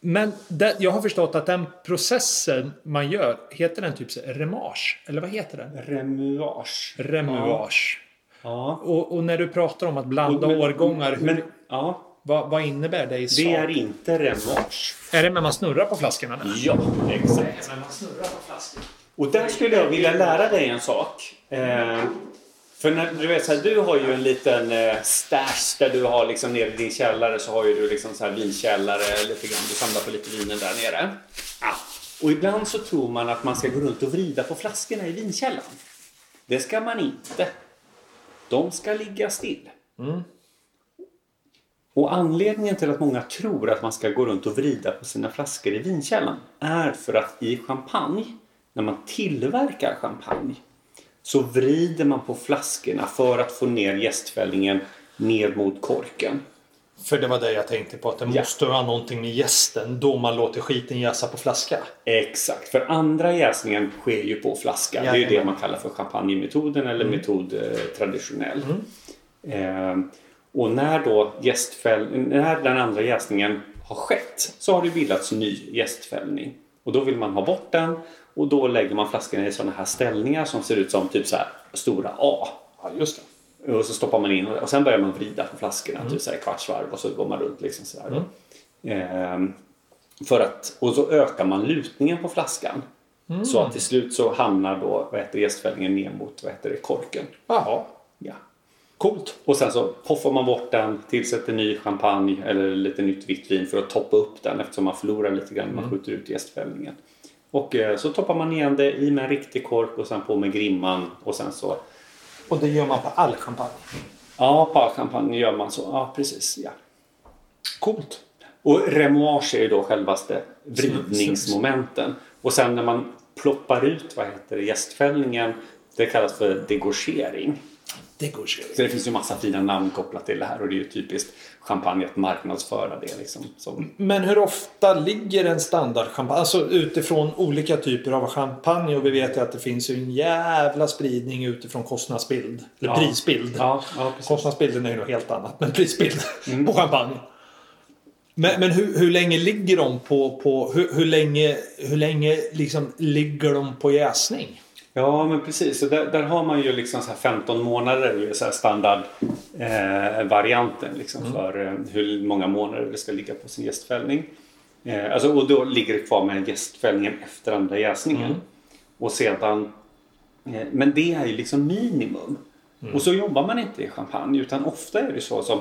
Speaker 4: Men det, jag har förstått att den processen man gör, heter den typ så- remage? Eller vad heter den?
Speaker 1: Remuage.
Speaker 4: Remuage.
Speaker 1: Ja.
Speaker 4: Och, och när du pratar om att blanda
Speaker 1: Men-
Speaker 4: årgångar, hur,
Speaker 1: Men, ja,
Speaker 4: vad, vad innebär det i sak?
Speaker 1: det är inte remuage.
Speaker 4: Är det när man snurrar på flaskorna? Eller?
Speaker 2: Mm.
Speaker 1: Ja, exakt.
Speaker 4: när man snurrar på flaskorna.
Speaker 1: Och där skulle jag vilja lära dig en sak. Eh, för när du vet så här, du har ju en liten eh, stash där du har liksom nere i din källare så har ju du liksom så här vinkällare lite grann. Du samlar på lite viner där nere. Ja. Och ibland så tror man att man ska gå runt och vrida på flaskorna i vinkällaren. Det ska man inte. De ska ligga still. Och anledningen till att många tror att man ska gå runt och vrida på sina flaskor i vinkällan är för att i champagne, när man tillverkar champagne, så vrider man på flaskorna för att få ner jästfällningen ner mot korken.
Speaker 2: För det var det jag tänkte på, att det
Speaker 1: Ja.
Speaker 2: måste ha någonting med gästen då man låter skiten jäsa på flaska.
Speaker 1: Exakt, för andra jäsningen sker ju på flaska. Det är ju
Speaker 2: Jajamän.
Speaker 1: det man kallar för champagnemetoden eller metod eh, traditionell. Eh, och när då jästfäll, när den andra jäsningen har skett så har det bildats ny jästfällning. Och då vill man ha bort den och då lägger man flaskorna i sådana här ställningar som ser ut som typ så här stora A.
Speaker 2: Ja, just det.
Speaker 1: Och så stoppar man in och sen börjar man vrida på flaskorna typ så här kvartsvarv och så går man runt liksom så här. då. Ehm, för att, och så ökar man lutningen på flaskan. Så att till slut så hamnar då vad heter, det, jästfällningen ner mot vad heter det, korken.
Speaker 2: Jaha,
Speaker 1: Ja.
Speaker 2: coolt.
Speaker 1: Och sen så poffar man bort den, tillsätter ny champagne eller lite nytt vitt vin för att toppa upp den eftersom man förlorar lite grann när man skjuter ut jästfällningen. Och eh, så toppar man igen det i med en riktig kork och sen på med grimman och sen så
Speaker 2: Och det gör man på all champagne.
Speaker 1: Ja, på all champagne gör man så. Ja, precis. Ja.
Speaker 2: Coolt.
Speaker 1: Och remoage är ju då självaste vridningsmomenten. Och sen när man ploppar ut vad heter det, gästfällningen, det kallas för degorgering.
Speaker 2: Det går sig.
Speaker 1: Så det finns ju massa fina namn kopplat till det här och det är ju typiskt champagne att marknadsföra det. Liksom, som,
Speaker 2: Men hur ofta ligger en standardchampagne? Alltså utifrån olika typer av champagne och vi vet ju att det finns ju en jävla spridning utifrån kostnadsbild. Eller
Speaker 1: Ja.
Speaker 2: prisbild.
Speaker 1: ja, ja, precis. Mm.
Speaker 2: Kostnadsbilden är ju något helt annat, men prisbild på champagne. Men, men hur, hur länge ligger de på... på hur, hur länge, hur länge liksom ligger de på jäsning?
Speaker 1: Ja, men precis. Så där, där har man ju liksom så här 15 månader, det är ju så här standard eh, varianten liksom för eh, hur många månader det ska ligga på sin gästfällning. Eh, alltså, och då ligger det kvar med gästfällningen efter andra jäsningen. Och sedan, eh, men det är ju liksom minimum. Och så jobbar man inte i champagne utan ofta är det så som,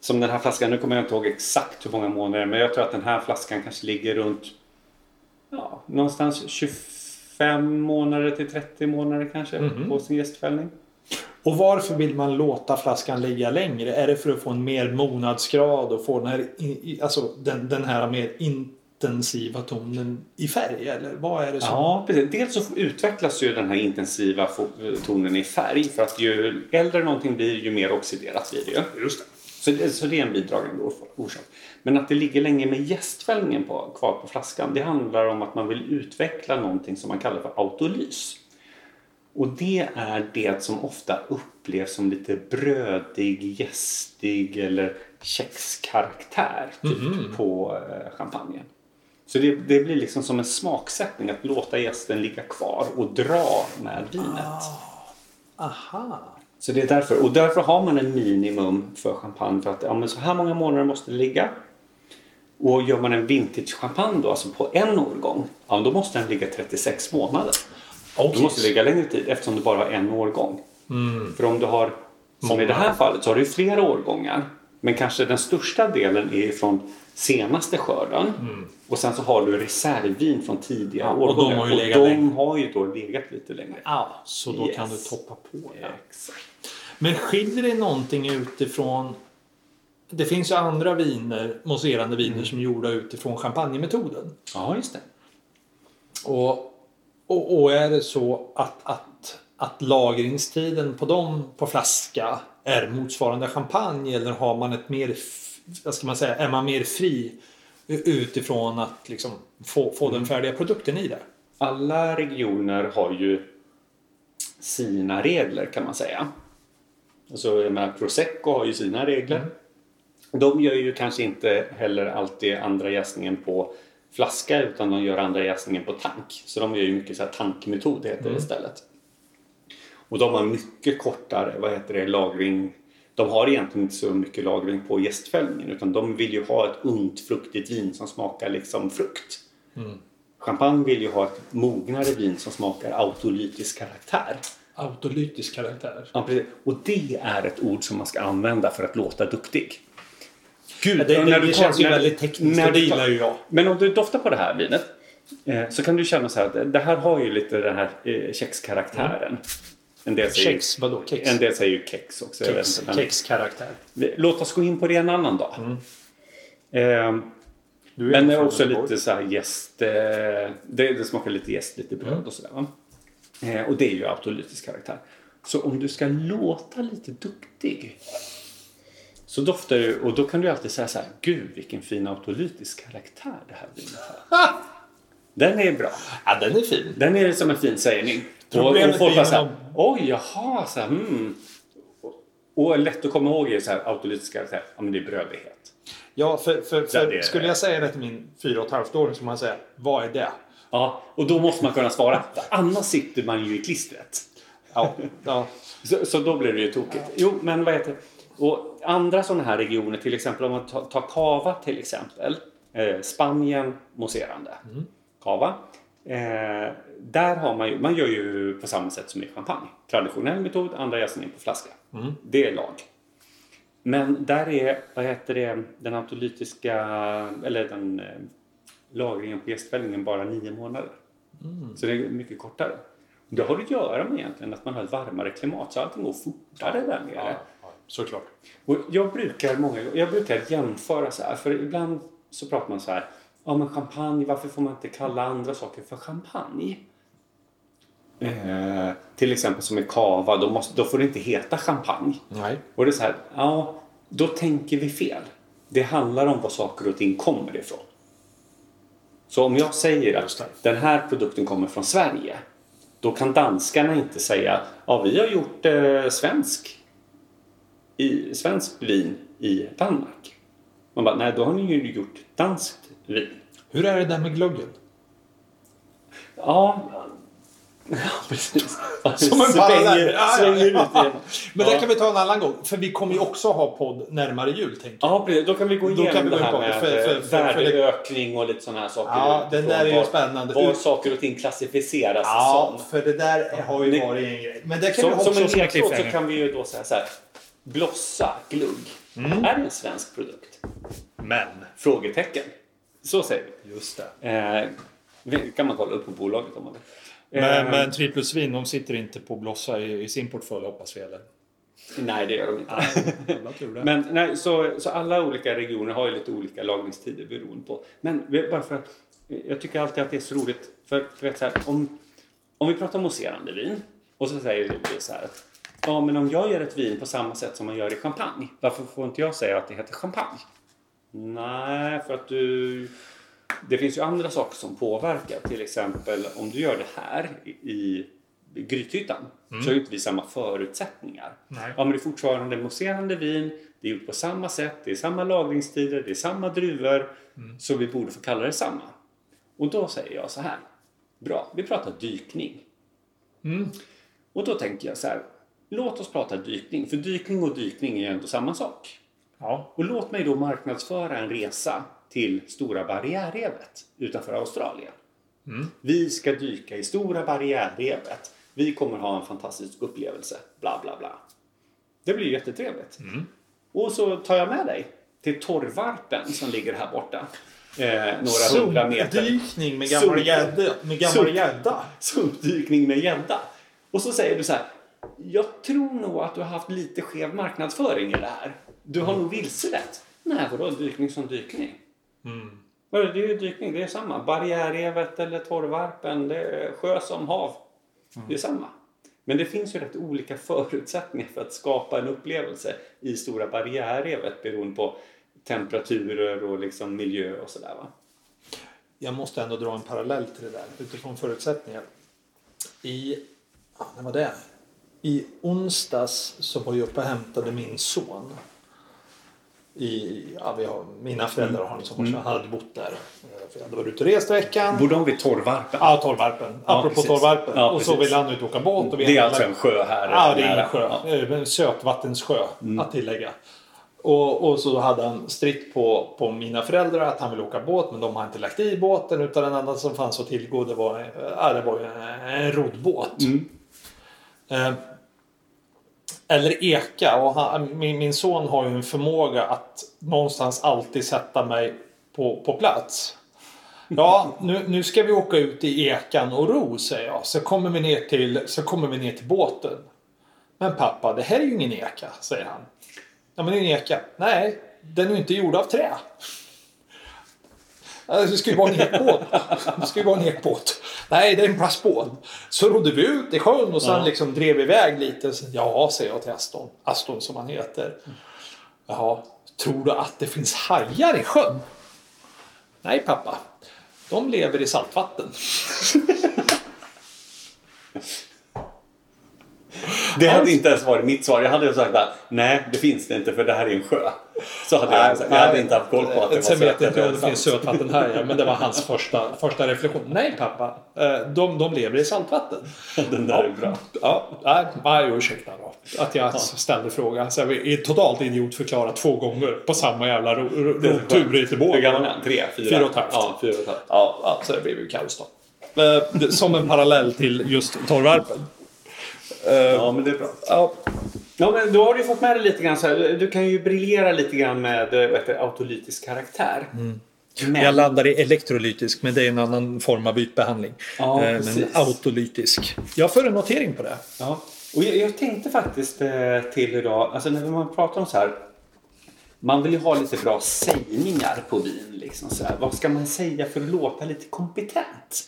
Speaker 1: som den här flaskan, nu kommer jag inte ihåg exakt hur många månader men jag tror att den här flaskan kanske ligger runt ja, någonstans 25 månader till 30 månader kanske på sin gästfällning.
Speaker 2: Och varför vill man låta flaskan ligga längre? Är det för att få en mer mognadsgrad och få den här, i- i- alltså den, den här mer intensiva tonen i färg? Eller vad är det som...
Speaker 1: Ja, precis. Dels så utvecklas ju den här intensiva fo- tonen i färg för att ju äldre någonting blir ju mer oxiderat blir det ju. Just Så, det- så det är en bidragande or- orsak. Men att det ligger länge med jästfällningen på, kvar på flaskan det handlar om att man vill utveckla någonting som man kallar för autolys. Och det är det som ofta upplevs som lite brödig, jästig eller kexkaraktär typ, på eh, champagnen. Så det, det blir liksom som en smaksättning att låta gästen ligga kvar och dra med vinet.
Speaker 2: Aha!
Speaker 1: Så det är därför. Och därför har man en minimum för champagne. För att ja, men så här många månader måste det ligga. Och gör man en vintage champagne då, alltså på en årgång, ja, då måste den ligga 36 månader. Du
Speaker 2: Okay.
Speaker 1: måste ligga längre tid eftersom du bara har en årgång.
Speaker 2: Mm.
Speaker 1: För om du har, som i det här fallet, så har du ju flera årgångar. Men kanske den största delen är från senaste skörden. Och sen så har du reservvin från tidigare
Speaker 2: Mm. och de
Speaker 1: årgångar.
Speaker 2: har ju legat
Speaker 1: och de
Speaker 2: länge.
Speaker 1: har ju då legat lite längre.
Speaker 2: Ah, så då kan du
Speaker 1: Yes.
Speaker 2: toppa på den.
Speaker 1: Exakt.
Speaker 2: Men skiljer det någonting utifrån... Det finns ju andra viner, mousserande viner, som är gjorda utifrån champagnemetoden.
Speaker 1: Ja, just det.
Speaker 2: Och, och, och är det så att, att, att lagringstiden på dem på flaska är motsvarande champagne eller har man ett mer, f- vad ska man säga, är man mer fri utifrån att liksom få, få
Speaker 1: Mm.
Speaker 2: den färdiga produkten i det?
Speaker 1: alla regioner har ju sina regler kan man säga. Alltså, jag menar, Prosecco har ju sina regler. De gör ju kanske inte heller alltid andra jäsningen på flaska utan de gör andra jäsningen på tank. Så de gör ju mycket så här tankmetod heter det istället. Och de har mycket kortare, vad heter det, lagring. De har egentligen inte så mycket lagring på jästfällningen utan de vill ju ha ett ungt fruktigt vin som smakar liksom frukt. Champagne vill ju ha ett mognare vin som smakar autolytisk karaktär.
Speaker 2: Autolytisk karaktär.
Speaker 1: Ja, precis. Och det är ett ord som man ska använda för att låta duktig.
Speaker 2: Gud, det,
Speaker 1: och
Speaker 2: det,
Speaker 1: när du
Speaker 2: det
Speaker 1: tar-
Speaker 2: känns ju
Speaker 1: när-
Speaker 2: väldigt tekniskt.
Speaker 1: när
Speaker 2: och Det
Speaker 1: du tar-
Speaker 2: gillar ju jag.
Speaker 1: Men om du doftar på det här vinet eh, så kan du känna så här att det här har ju lite den här eh, kexkaraktären. En del säger,
Speaker 2: Mm. Kex, vadå kex?
Speaker 1: En del säger ju kex också. jag
Speaker 2: kex, Mm.
Speaker 1: vet inte, men-
Speaker 2: kexkaraktär.
Speaker 1: Vi- Låt oss gå in på det en annan dag. Eh,
Speaker 2: Du är
Speaker 1: men
Speaker 2: ju
Speaker 1: det är
Speaker 2: från
Speaker 1: också
Speaker 2: Göteborg.
Speaker 1: lite så här gäst... Eh, det, det smakar lite gäst, lite
Speaker 2: Mm.
Speaker 1: bröd och sådär. va? Eh, och det är ju autolytisk karaktär. Så om du ska låta lite duktig så doftar du och då kan du alltid säga så här Gud vilken fin autolytisk karaktär det här vinet har. Den är bra.
Speaker 2: Ja, den är fin.
Speaker 1: Den är som en fin sägning. Och, och
Speaker 2: Problemet
Speaker 1: folk
Speaker 2: är
Speaker 1: bara så här,
Speaker 2: genom-
Speaker 1: oj, jaha, så här, hmm. Och, och lätt att komma ihåg är så här, autolytisk karaktär, ja men det är brödighet.
Speaker 2: Ja, för, för,
Speaker 1: Ja,
Speaker 2: för
Speaker 1: det är-
Speaker 2: skulle jag säga det till min fyra och ett halvt åring så skulle man säga, vad är det?
Speaker 1: Ja, och då måste man kunna svara, för annars sitter man ju i klistret.
Speaker 2: Ja, ja.
Speaker 1: Så, så då blir det ju tokigt. Jo, men vad heter Och andra sådana här regioner, till exempel om man tar, tar Cava till exempel. Eh, Spanien, mousserande. Cava. Eh, där har man ju, man gör ju på samma sätt som i champagne. Traditionell metod, andra jäsning på flaska. Det är lag. Men där är, vad heter det, den autolytiska, eller den eh, lagringen på jästfällningen bara nio månader. Så det är mycket kortare. Det har att göra med egentligen att man har ett varmare klimat så allting går fortare där nere.
Speaker 2: ja, såklart.
Speaker 1: Och jag brukar många gånger- jag brukar jämföra så här för ibland så pratar man så här ja men champagne varför får man inte kalla andra saker för champagne? Eh, till exempel som i kava då, måste, då får det inte heta champagne.
Speaker 2: Nej.
Speaker 1: Och det är så här, ja, då tänker vi fel. Det handlar om var saker och ting kommer ifrån. Så om jag säger
Speaker 2: Just
Speaker 1: att
Speaker 2: det.
Speaker 1: den här produkten kommer från Sverige, då kan danskarna inte säga ja, vi har gjort eh, svensk, i, svensk vin i Danmark. Man bara, nej, då har ni ju gjort danskt vin.
Speaker 2: Hur är det där med glöggen?
Speaker 1: Ja, precis.
Speaker 2: Som en parallell. Ja, ja,
Speaker 1: svänger ut
Speaker 2: ja.
Speaker 1: igen.
Speaker 2: Men
Speaker 1: Ja.
Speaker 2: det kan vi ta en annan gång. För vi kommer ju också ha podd närmare jul, tänker jag.
Speaker 1: Ja, precis. Då kan vi gå
Speaker 2: Då
Speaker 1: igenom
Speaker 2: kan vi
Speaker 1: det
Speaker 2: gå
Speaker 1: här
Speaker 2: in på-
Speaker 1: med
Speaker 2: för- för- för-
Speaker 1: värdeökning och lite sådana här saker.
Speaker 2: Ja, den där är ju
Speaker 1: Var-
Speaker 2: spännande.
Speaker 1: Var saker och ting klassificeras som.
Speaker 2: för det där har ju varit en grej. Men det kan vi
Speaker 1: Som,
Speaker 2: ha
Speaker 1: som en
Speaker 2: också som en
Speaker 1: ledtråd så
Speaker 2: cliffhanger.
Speaker 1: kan vi ju då säga så här. Blossa, glugg.
Speaker 2: Mm.
Speaker 1: Är det en svensk produkt?
Speaker 4: Men.
Speaker 1: Frågetecken. Så säger vi.
Speaker 4: Just det.
Speaker 1: Eh, vi- kan man kolla upp på bolaget om man vill.
Speaker 4: Men,
Speaker 1: Eh,
Speaker 4: men Triplesvin, de sitter inte på Blossa i, i sin portfölj hoppas vi eller?
Speaker 1: Nej, det gör de inte.
Speaker 4: Jävla tur det.
Speaker 1: Men nej, så, så alla olika regioner har ju lite olika lagringstider beroende på. Men vi- bara för att jag tycker alltid att det är så roligt. För du vet så här, om, om vi pratar mousserande vin och så säger vi så här att ja, men om jag gör ett vin på samma sätt som man gör i champagne. Varför får inte jag säga att det heter champagne? Nej, för att du... Det finns ju andra saker som påverkar. Till exempel om du gör det här i, i Grythyttan så har ju inte vi samma förutsättningar.
Speaker 4: Nej.
Speaker 1: Ja, men det är fortfarande mousserande vin. Det är gjort på samma sätt. Det är samma lagringstider. Det är samma druvor. Så vi borde få kalla det samma. Och då säger jag så här. Bra, vi pratar dykning. Och då tänker jag så här. Låt oss prata dykning. För dykning och dykning är ju ändå samma sak.
Speaker 4: Ja.
Speaker 1: Och låt mig då marknadsföra en resa till Stora barriärrevet utanför Australien. Vi ska dyka i Stora barriärrevet. Vi kommer ha en fantastisk upplevelse. Bla, bla, bla. Det blir ju jättetrevligt. Och så tar jag med dig till torrvarpen som ligger här borta. Eh, några hundra meter.
Speaker 2: Sumpdykning med
Speaker 1: Sump.
Speaker 2: gammal gädda. Med gammal
Speaker 1: Sump.
Speaker 2: gädda.
Speaker 1: Sumpdykning med gädda. Och så säger du så här. Jag tror nog att du har haft lite skev marknadsföring i det här. Du har nog vilselett. Nej, vadå dykning som dykning?
Speaker 2: Mm.
Speaker 1: Vadå, Det är ju dykning, det är samma. Barriärrevet eller torrvarpen, det är sjö som hav.
Speaker 2: Mm.
Speaker 1: Det är samma. Men det finns ju rätt olika förutsättningar för att skapa en upplevelse i Stora barriärrevet beroende på temperaturer och liksom miljö och sådär. Va?
Speaker 2: Jag måste ändå dra en parallell till det där utifrån förutsättningar. I... ja, När var det? I onsdags så var jag uppe och hämtade min son. I, ja, vi har, mina föräldrar har en son
Speaker 1: Mm.
Speaker 2: som hade bott där. Eh, För jag hade varit ute och rest i veckan.
Speaker 1: Borde de vid torrvarpen?
Speaker 2: Ja, torvarpen.
Speaker 1: Ja,
Speaker 2: Apropå
Speaker 1: precis.
Speaker 2: torvarpen.
Speaker 1: Ja,
Speaker 2: och så
Speaker 1: precis.
Speaker 2: vill han ut och åka båt. Och vi
Speaker 1: Det är
Speaker 2: hade-
Speaker 1: alltså en sjö Mm. här.
Speaker 2: Ja, det är
Speaker 1: nära.
Speaker 2: en sjö.
Speaker 1: Ja.
Speaker 2: Eh, En sötvattenssjö att tillägga. Och, och så hade han stritt på, på mina föräldrar att han ville åka båt men de har inte lagt i båten utan den enda som fanns att tillgå det var, äh, det var ju en, en roddbåt.
Speaker 1: Mm.
Speaker 2: Eh, eller eka. Och han, min, min son har ju en förmåga att någonstans alltid sätta mig på, på plats. Ja, nu, nu ska vi åka ut i ekan och ro, säger jag. Så kommer vi ner till, så kommer vi ner till båten. Men pappa, det här är ju ingen eka, säger han. Ja, men det är en eka. Nej, den är ju inte gjord av trä. Alltså, det ska ju vara en ekbåt. Det ska ju vara en ekbåt. Nej, det är en plastbåt. Så rodde vi ut i sjön och sen liksom drev vi iväg lite. Sen, ja, säger jag till Aston. Aston som han heter. Jaha, tror du att det finns hajar i sjön? Nej, pappa. De lever i saltvatten.
Speaker 1: Det hade inte ens varit mitt svar. Jag hade ju sagt att nej, det finns det inte för det här är en sjö. Så hade jag, sagt. jag hade inte haft koll på att det var
Speaker 2: Sen vet jag
Speaker 1: sötvatten.
Speaker 2: inte om det finns sötvatten här, ja, men det var hans första, första reflektion. Nej, pappa. eh, De, de lever i saltvatten.
Speaker 1: Den där är bra.
Speaker 2: Ja, nej, nej, ursäkta då. Att jag ställde frågan. Så jag är totalt idiotförklarad två gånger på samma jävla ro- ro-
Speaker 1: Det är så
Speaker 2: rotur i
Speaker 1: Hur
Speaker 2: Göteborg.
Speaker 1: gammal är han? Tre? Fyra?
Speaker 2: Fyra och ett halvt.
Speaker 1: Ja, fyra och ett halvt.
Speaker 2: Ja, ja, så det blev ju kaos då. Eh, det- Som en parallell till just torrvarpen.
Speaker 1: Ja, men det är bra.
Speaker 2: Ja,
Speaker 1: Ja, men då har du ju fått med dig lite grann så här. Du kan ju briljera lite grann med eh, vad heter, det, autolytisk karaktär. Men,
Speaker 4: Jag landar i elektrolytisk, men det är en annan form av ytbehandling.
Speaker 1: Ja,
Speaker 4: Eh, men
Speaker 1: precis.
Speaker 4: autolytisk. Jag för en notering på det.
Speaker 1: ja. Och jag, jag tänkte faktiskt eh, till idag, alltså när man pratar om så här. Man vill ju ha lite bra sägningar på vin. Liksom, så här. Vad ska man säga för att låta lite kompetent?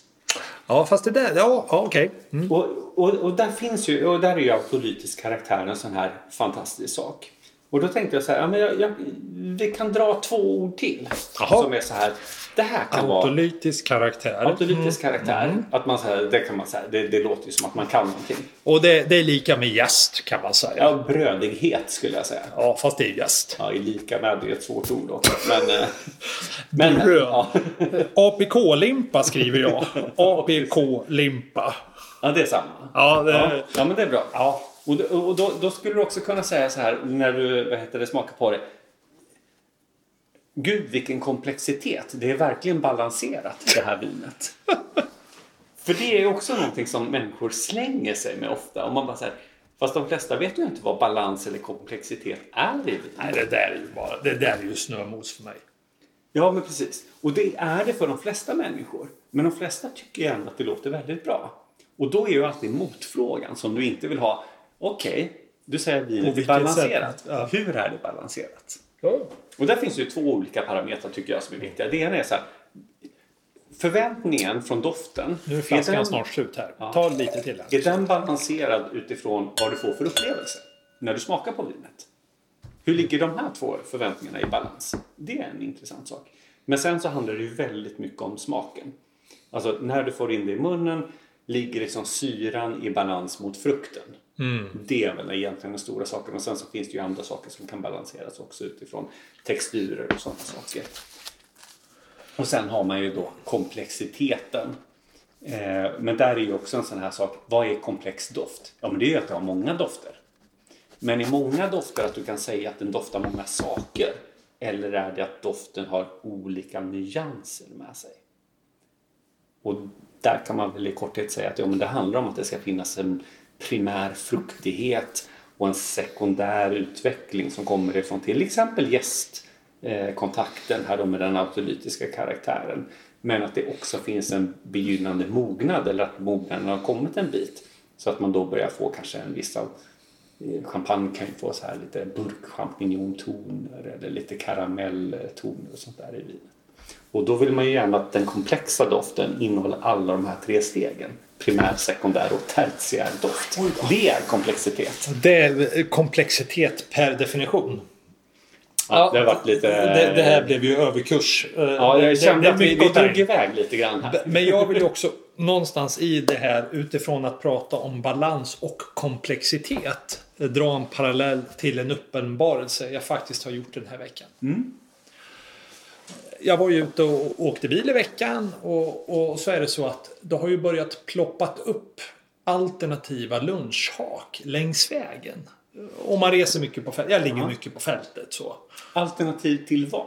Speaker 4: Ja, fast det där... Ja, ja okej. Mm.
Speaker 1: Och, och, och där finns ju, och där är ju autolytisk karaktär en sån här fantastisk sak. Och då tänkte jag så här, ja, men jag, jag, vi kan dra två ord till.
Speaker 4: Jaha.
Speaker 1: Som är så här, det här kan vara
Speaker 4: Autolytisk karaktär.
Speaker 1: autolytisk
Speaker 4: Mm.
Speaker 1: karaktär. Att man så här, det kan man säga, det, det låter ju som att man kan någonting.
Speaker 4: Och det, det är lika med gäst kan man säga. Ja,
Speaker 1: Ja, brödighet skulle jag säga.
Speaker 4: fast det är gäst.
Speaker 1: Ja, i lika med, det är ett svårt ord också. Men, eh, men
Speaker 4: Bröd.
Speaker 1: ja,
Speaker 4: APK-limpa skriver jag. APK-limpa.
Speaker 1: ja, det är samma.
Speaker 4: Ja, det,
Speaker 1: Ja, ja, men det är bra. Ja. Och, då- och då, då skulle du också kunna säga så här när du vad heter det, smakar på det. Gud vilken komplexitet. Det är verkligen balanserat det här vinet. För det är också någonting som människor slänger sig med ofta. Och man bara så här, fast de flesta vet ju inte vad balans eller komplexitet är i vin.
Speaker 4: Nej, det där är ju bara... Det där är ju snömos för mig.
Speaker 1: Ja, men precis. Och det är det för de flesta människor. Men de flesta tycker ju ändå att det låter väldigt bra. Och då är ju alltid motfrågan som du inte vill ha. Okej, du säger att vinet är
Speaker 4: vilket
Speaker 1: balanserat.
Speaker 4: sätt? Ja.
Speaker 1: Hur är det balanserat?
Speaker 4: Ja.
Speaker 1: Och där finns det ju två olika parametrar tycker jag som är viktiga. Det ena är så här. Förväntningen från doften.
Speaker 4: Nu är flaskan
Speaker 1: den-
Speaker 4: snart slut här. Ta lite till här.
Speaker 1: är den balanserad utifrån vad du får för upplevelse när du smakar på vinet? Hur ligger de här två förväntningarna i balans? Det är en intressant sak. Men sen så handlar det ju väldigt mycket om smaken. Alltså när du får in det i munnen ligger liksom syran i balans mot frukten. Det är väl egentligen den stora saken. Och sen så finns det ju andra saker som kan balanseras också utifrån texturer och sådana saker. Och sen har man ju då komplexiteten. Eh, men där är ju också en sån här sak. Vad är komplex doft? Ja, men det är ju att det har många dofter. Men är många dofter att du kan säga att den doftar många saker? Eller är det att doften har olika nyanser med sig? Och där kan man väl i korthet säga att ja, men det handlar om att det ska finnas en primär fruktighet och en sekundär utveckling som kommer ifrån till exempel gästkontakten här då med den autolytiska karaktären. Men att det också finns en begynnande mognad eller att mognaden har kommit en bit. Så att man då börjar få kanske en viss av eh, Champagne kan ju få så här lite burkchampinjontoner eller lite karamelltoner och sånt där i vinet. Och då vill man ju gärna att den komplexa doften innehåller alla de här tre stegen. Primär, sekundär och tertiär doft. Det är komplexitet.
Speaker 4: Det är komplexitet per definition.
Speaker 1: Ja, det har varit lite...
Speaker 2: det, det här blev ju överkurs. Eh,
Speaker 1: ja,
Speaker 4: det-
Speaker 1: jag kände
Speaker 4: det är
Speaker 1: att vi, vi
Speaker 4: mycket
Speaker 1: drog
Speaker 4: där.
Speaker 1: iväg lite grann här.
Speaker 4: Men jag vill ju också någonstans i det här utifrån att prata om balans och komplexitet eh, dra en parallell till en uppenbarelse jag faktiskt har gjort den här veckan. Jag var ju ute och åkte bil i veckan och, och så är det så att det har ju börjat ploppat upp alternativa lunchhak längs vägen.
Speaker 2: om man reser mycket på fältet. Jag ligger mycket på fältet så.
Speaker 1: Alternativ till vad?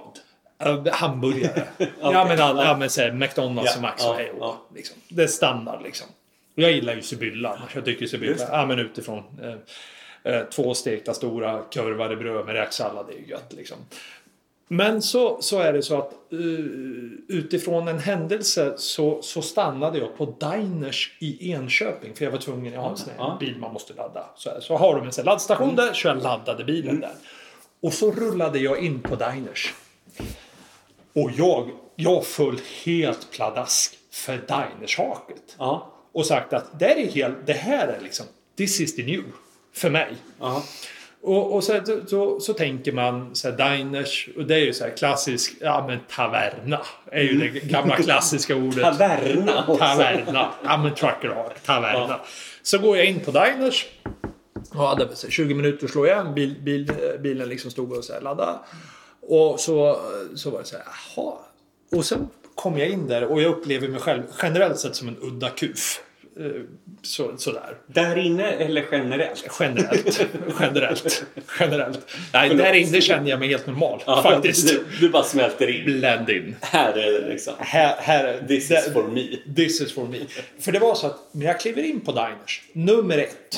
Speaker 2: Eh, hamburgare. ja
Speaker 1: Okej.
Speaker 2: men, alla, ja, men så här, McDonalds
Speaker 1: Ja,
Speaker 2: och Max
Speaker 1: ja,
Speaker 2: och hej och
Speaker 1: ja.
Speaker 2: liksom. Det är standard liksom. Jag gillar ju Sibylla. Jag tycker Sibylla,
Speaker 1: Just det.
Speaker 2: ja men utifrån. Eh, eh, två stekta stora kurvade bröd med räksallad, det är ju gött liksom. Men så, så är det så att eh, utifrån en händelse så, så stannade jag på Diners i Enköping. För jag var tvungen, jag har en sån här
Speaker 1: Ja.
Speaker 2: bil man måste ladda. Så, här, så har de en sån här laddstation där, så jag laddade bilen där. Och så rullade jag in på Diners. Och jag, jag föll helt pladask för Diners-haket.
Speaker 1: Ja.
Speaker 2: Och sagt att det här är, helt, det här är liksom, this is the new. För mig.
Speaker 1: ja.
Speaker 2: Och, och så, så, så, så tänker man så här, diners, och det är ju så här klassisk, ja men taverna. är ju det gamla klassiska ordet.
Speaker 1: Mm. Taverna också.
Speaker 2: Taverna. Ja men trucker har taverna.
Speaker 1: Ja.
Speaker 2: Så går jag in på diners. Och hade väl så här 20 minuter slår jag igen. Bil, bil, eh, bilen liksom stod och så här laddade. Och så, så var det så här, jaha. Och sen kom jag in där och jag upplever mig själv generellt sett som en udda kuf. Eh, Så, sådär
Speaker 1: Där inne eller generellt?
Speaker 2: generellt. Generellt. Generellt. Nej, där inne känner jag mig helt normal faktiskt.
Speaker 1: Du, du bara smälter in.
Speaker 2: Blend in.
Speaker 1: Här är det liksom.
Speaker 2: Här, här,
Speaker 1: This
Speaker 2: där-
Speaker 1: is for me.
Speaker 2: This is for me. För det var så att när jag kliver in på Diners, nummer ett.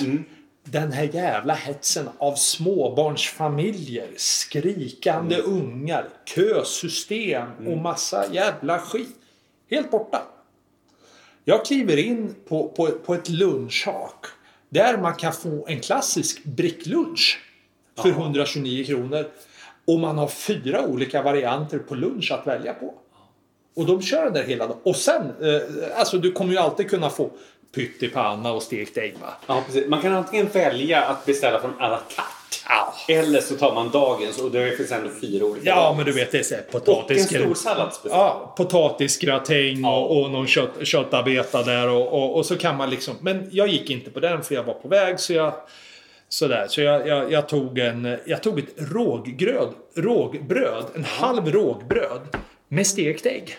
Speaker 2: Den här jävla hetsen av småbarnsfamiljer, skrikande ungar, kösystem och massa jävla skit. Helt borta. Jag kliver in på, på, på ett lunchhak. Där man kan få en klassisk bricklunch för 129 kronor. Och man har fyra olika varianter på lunch att välja på. Och de kör den där hela dagen. Och sen, eh, alltså du kommer ju alltid kunna få pyttipanna och stekt ägg va?
Speaker 1: Ja, precis. Man kan antingen välja att beställa från à la carte.
Speaker 2: Ja.
Speaker 1: Eller så tar man dagens och det finns ändå fyra olika.
Speaker 2: Ja,
Speaker 1: dagar.
Speaker 2: men du vet det är såhär
Speaker 1: Och en
Speaker 2: potatis...
Speaker 1: stor salladsbuffé.
Speaker 2: Ja, potatisgratäng och, och någon kött, köttarbeta där och, och, och så kan man liksom... Men jag gick inte på den för jag var på väg så jag... Sådär, så jag, jag, jag, tog en, jag tog ett råggröd, rågbröd, en halv rågbröd med stekt ägg.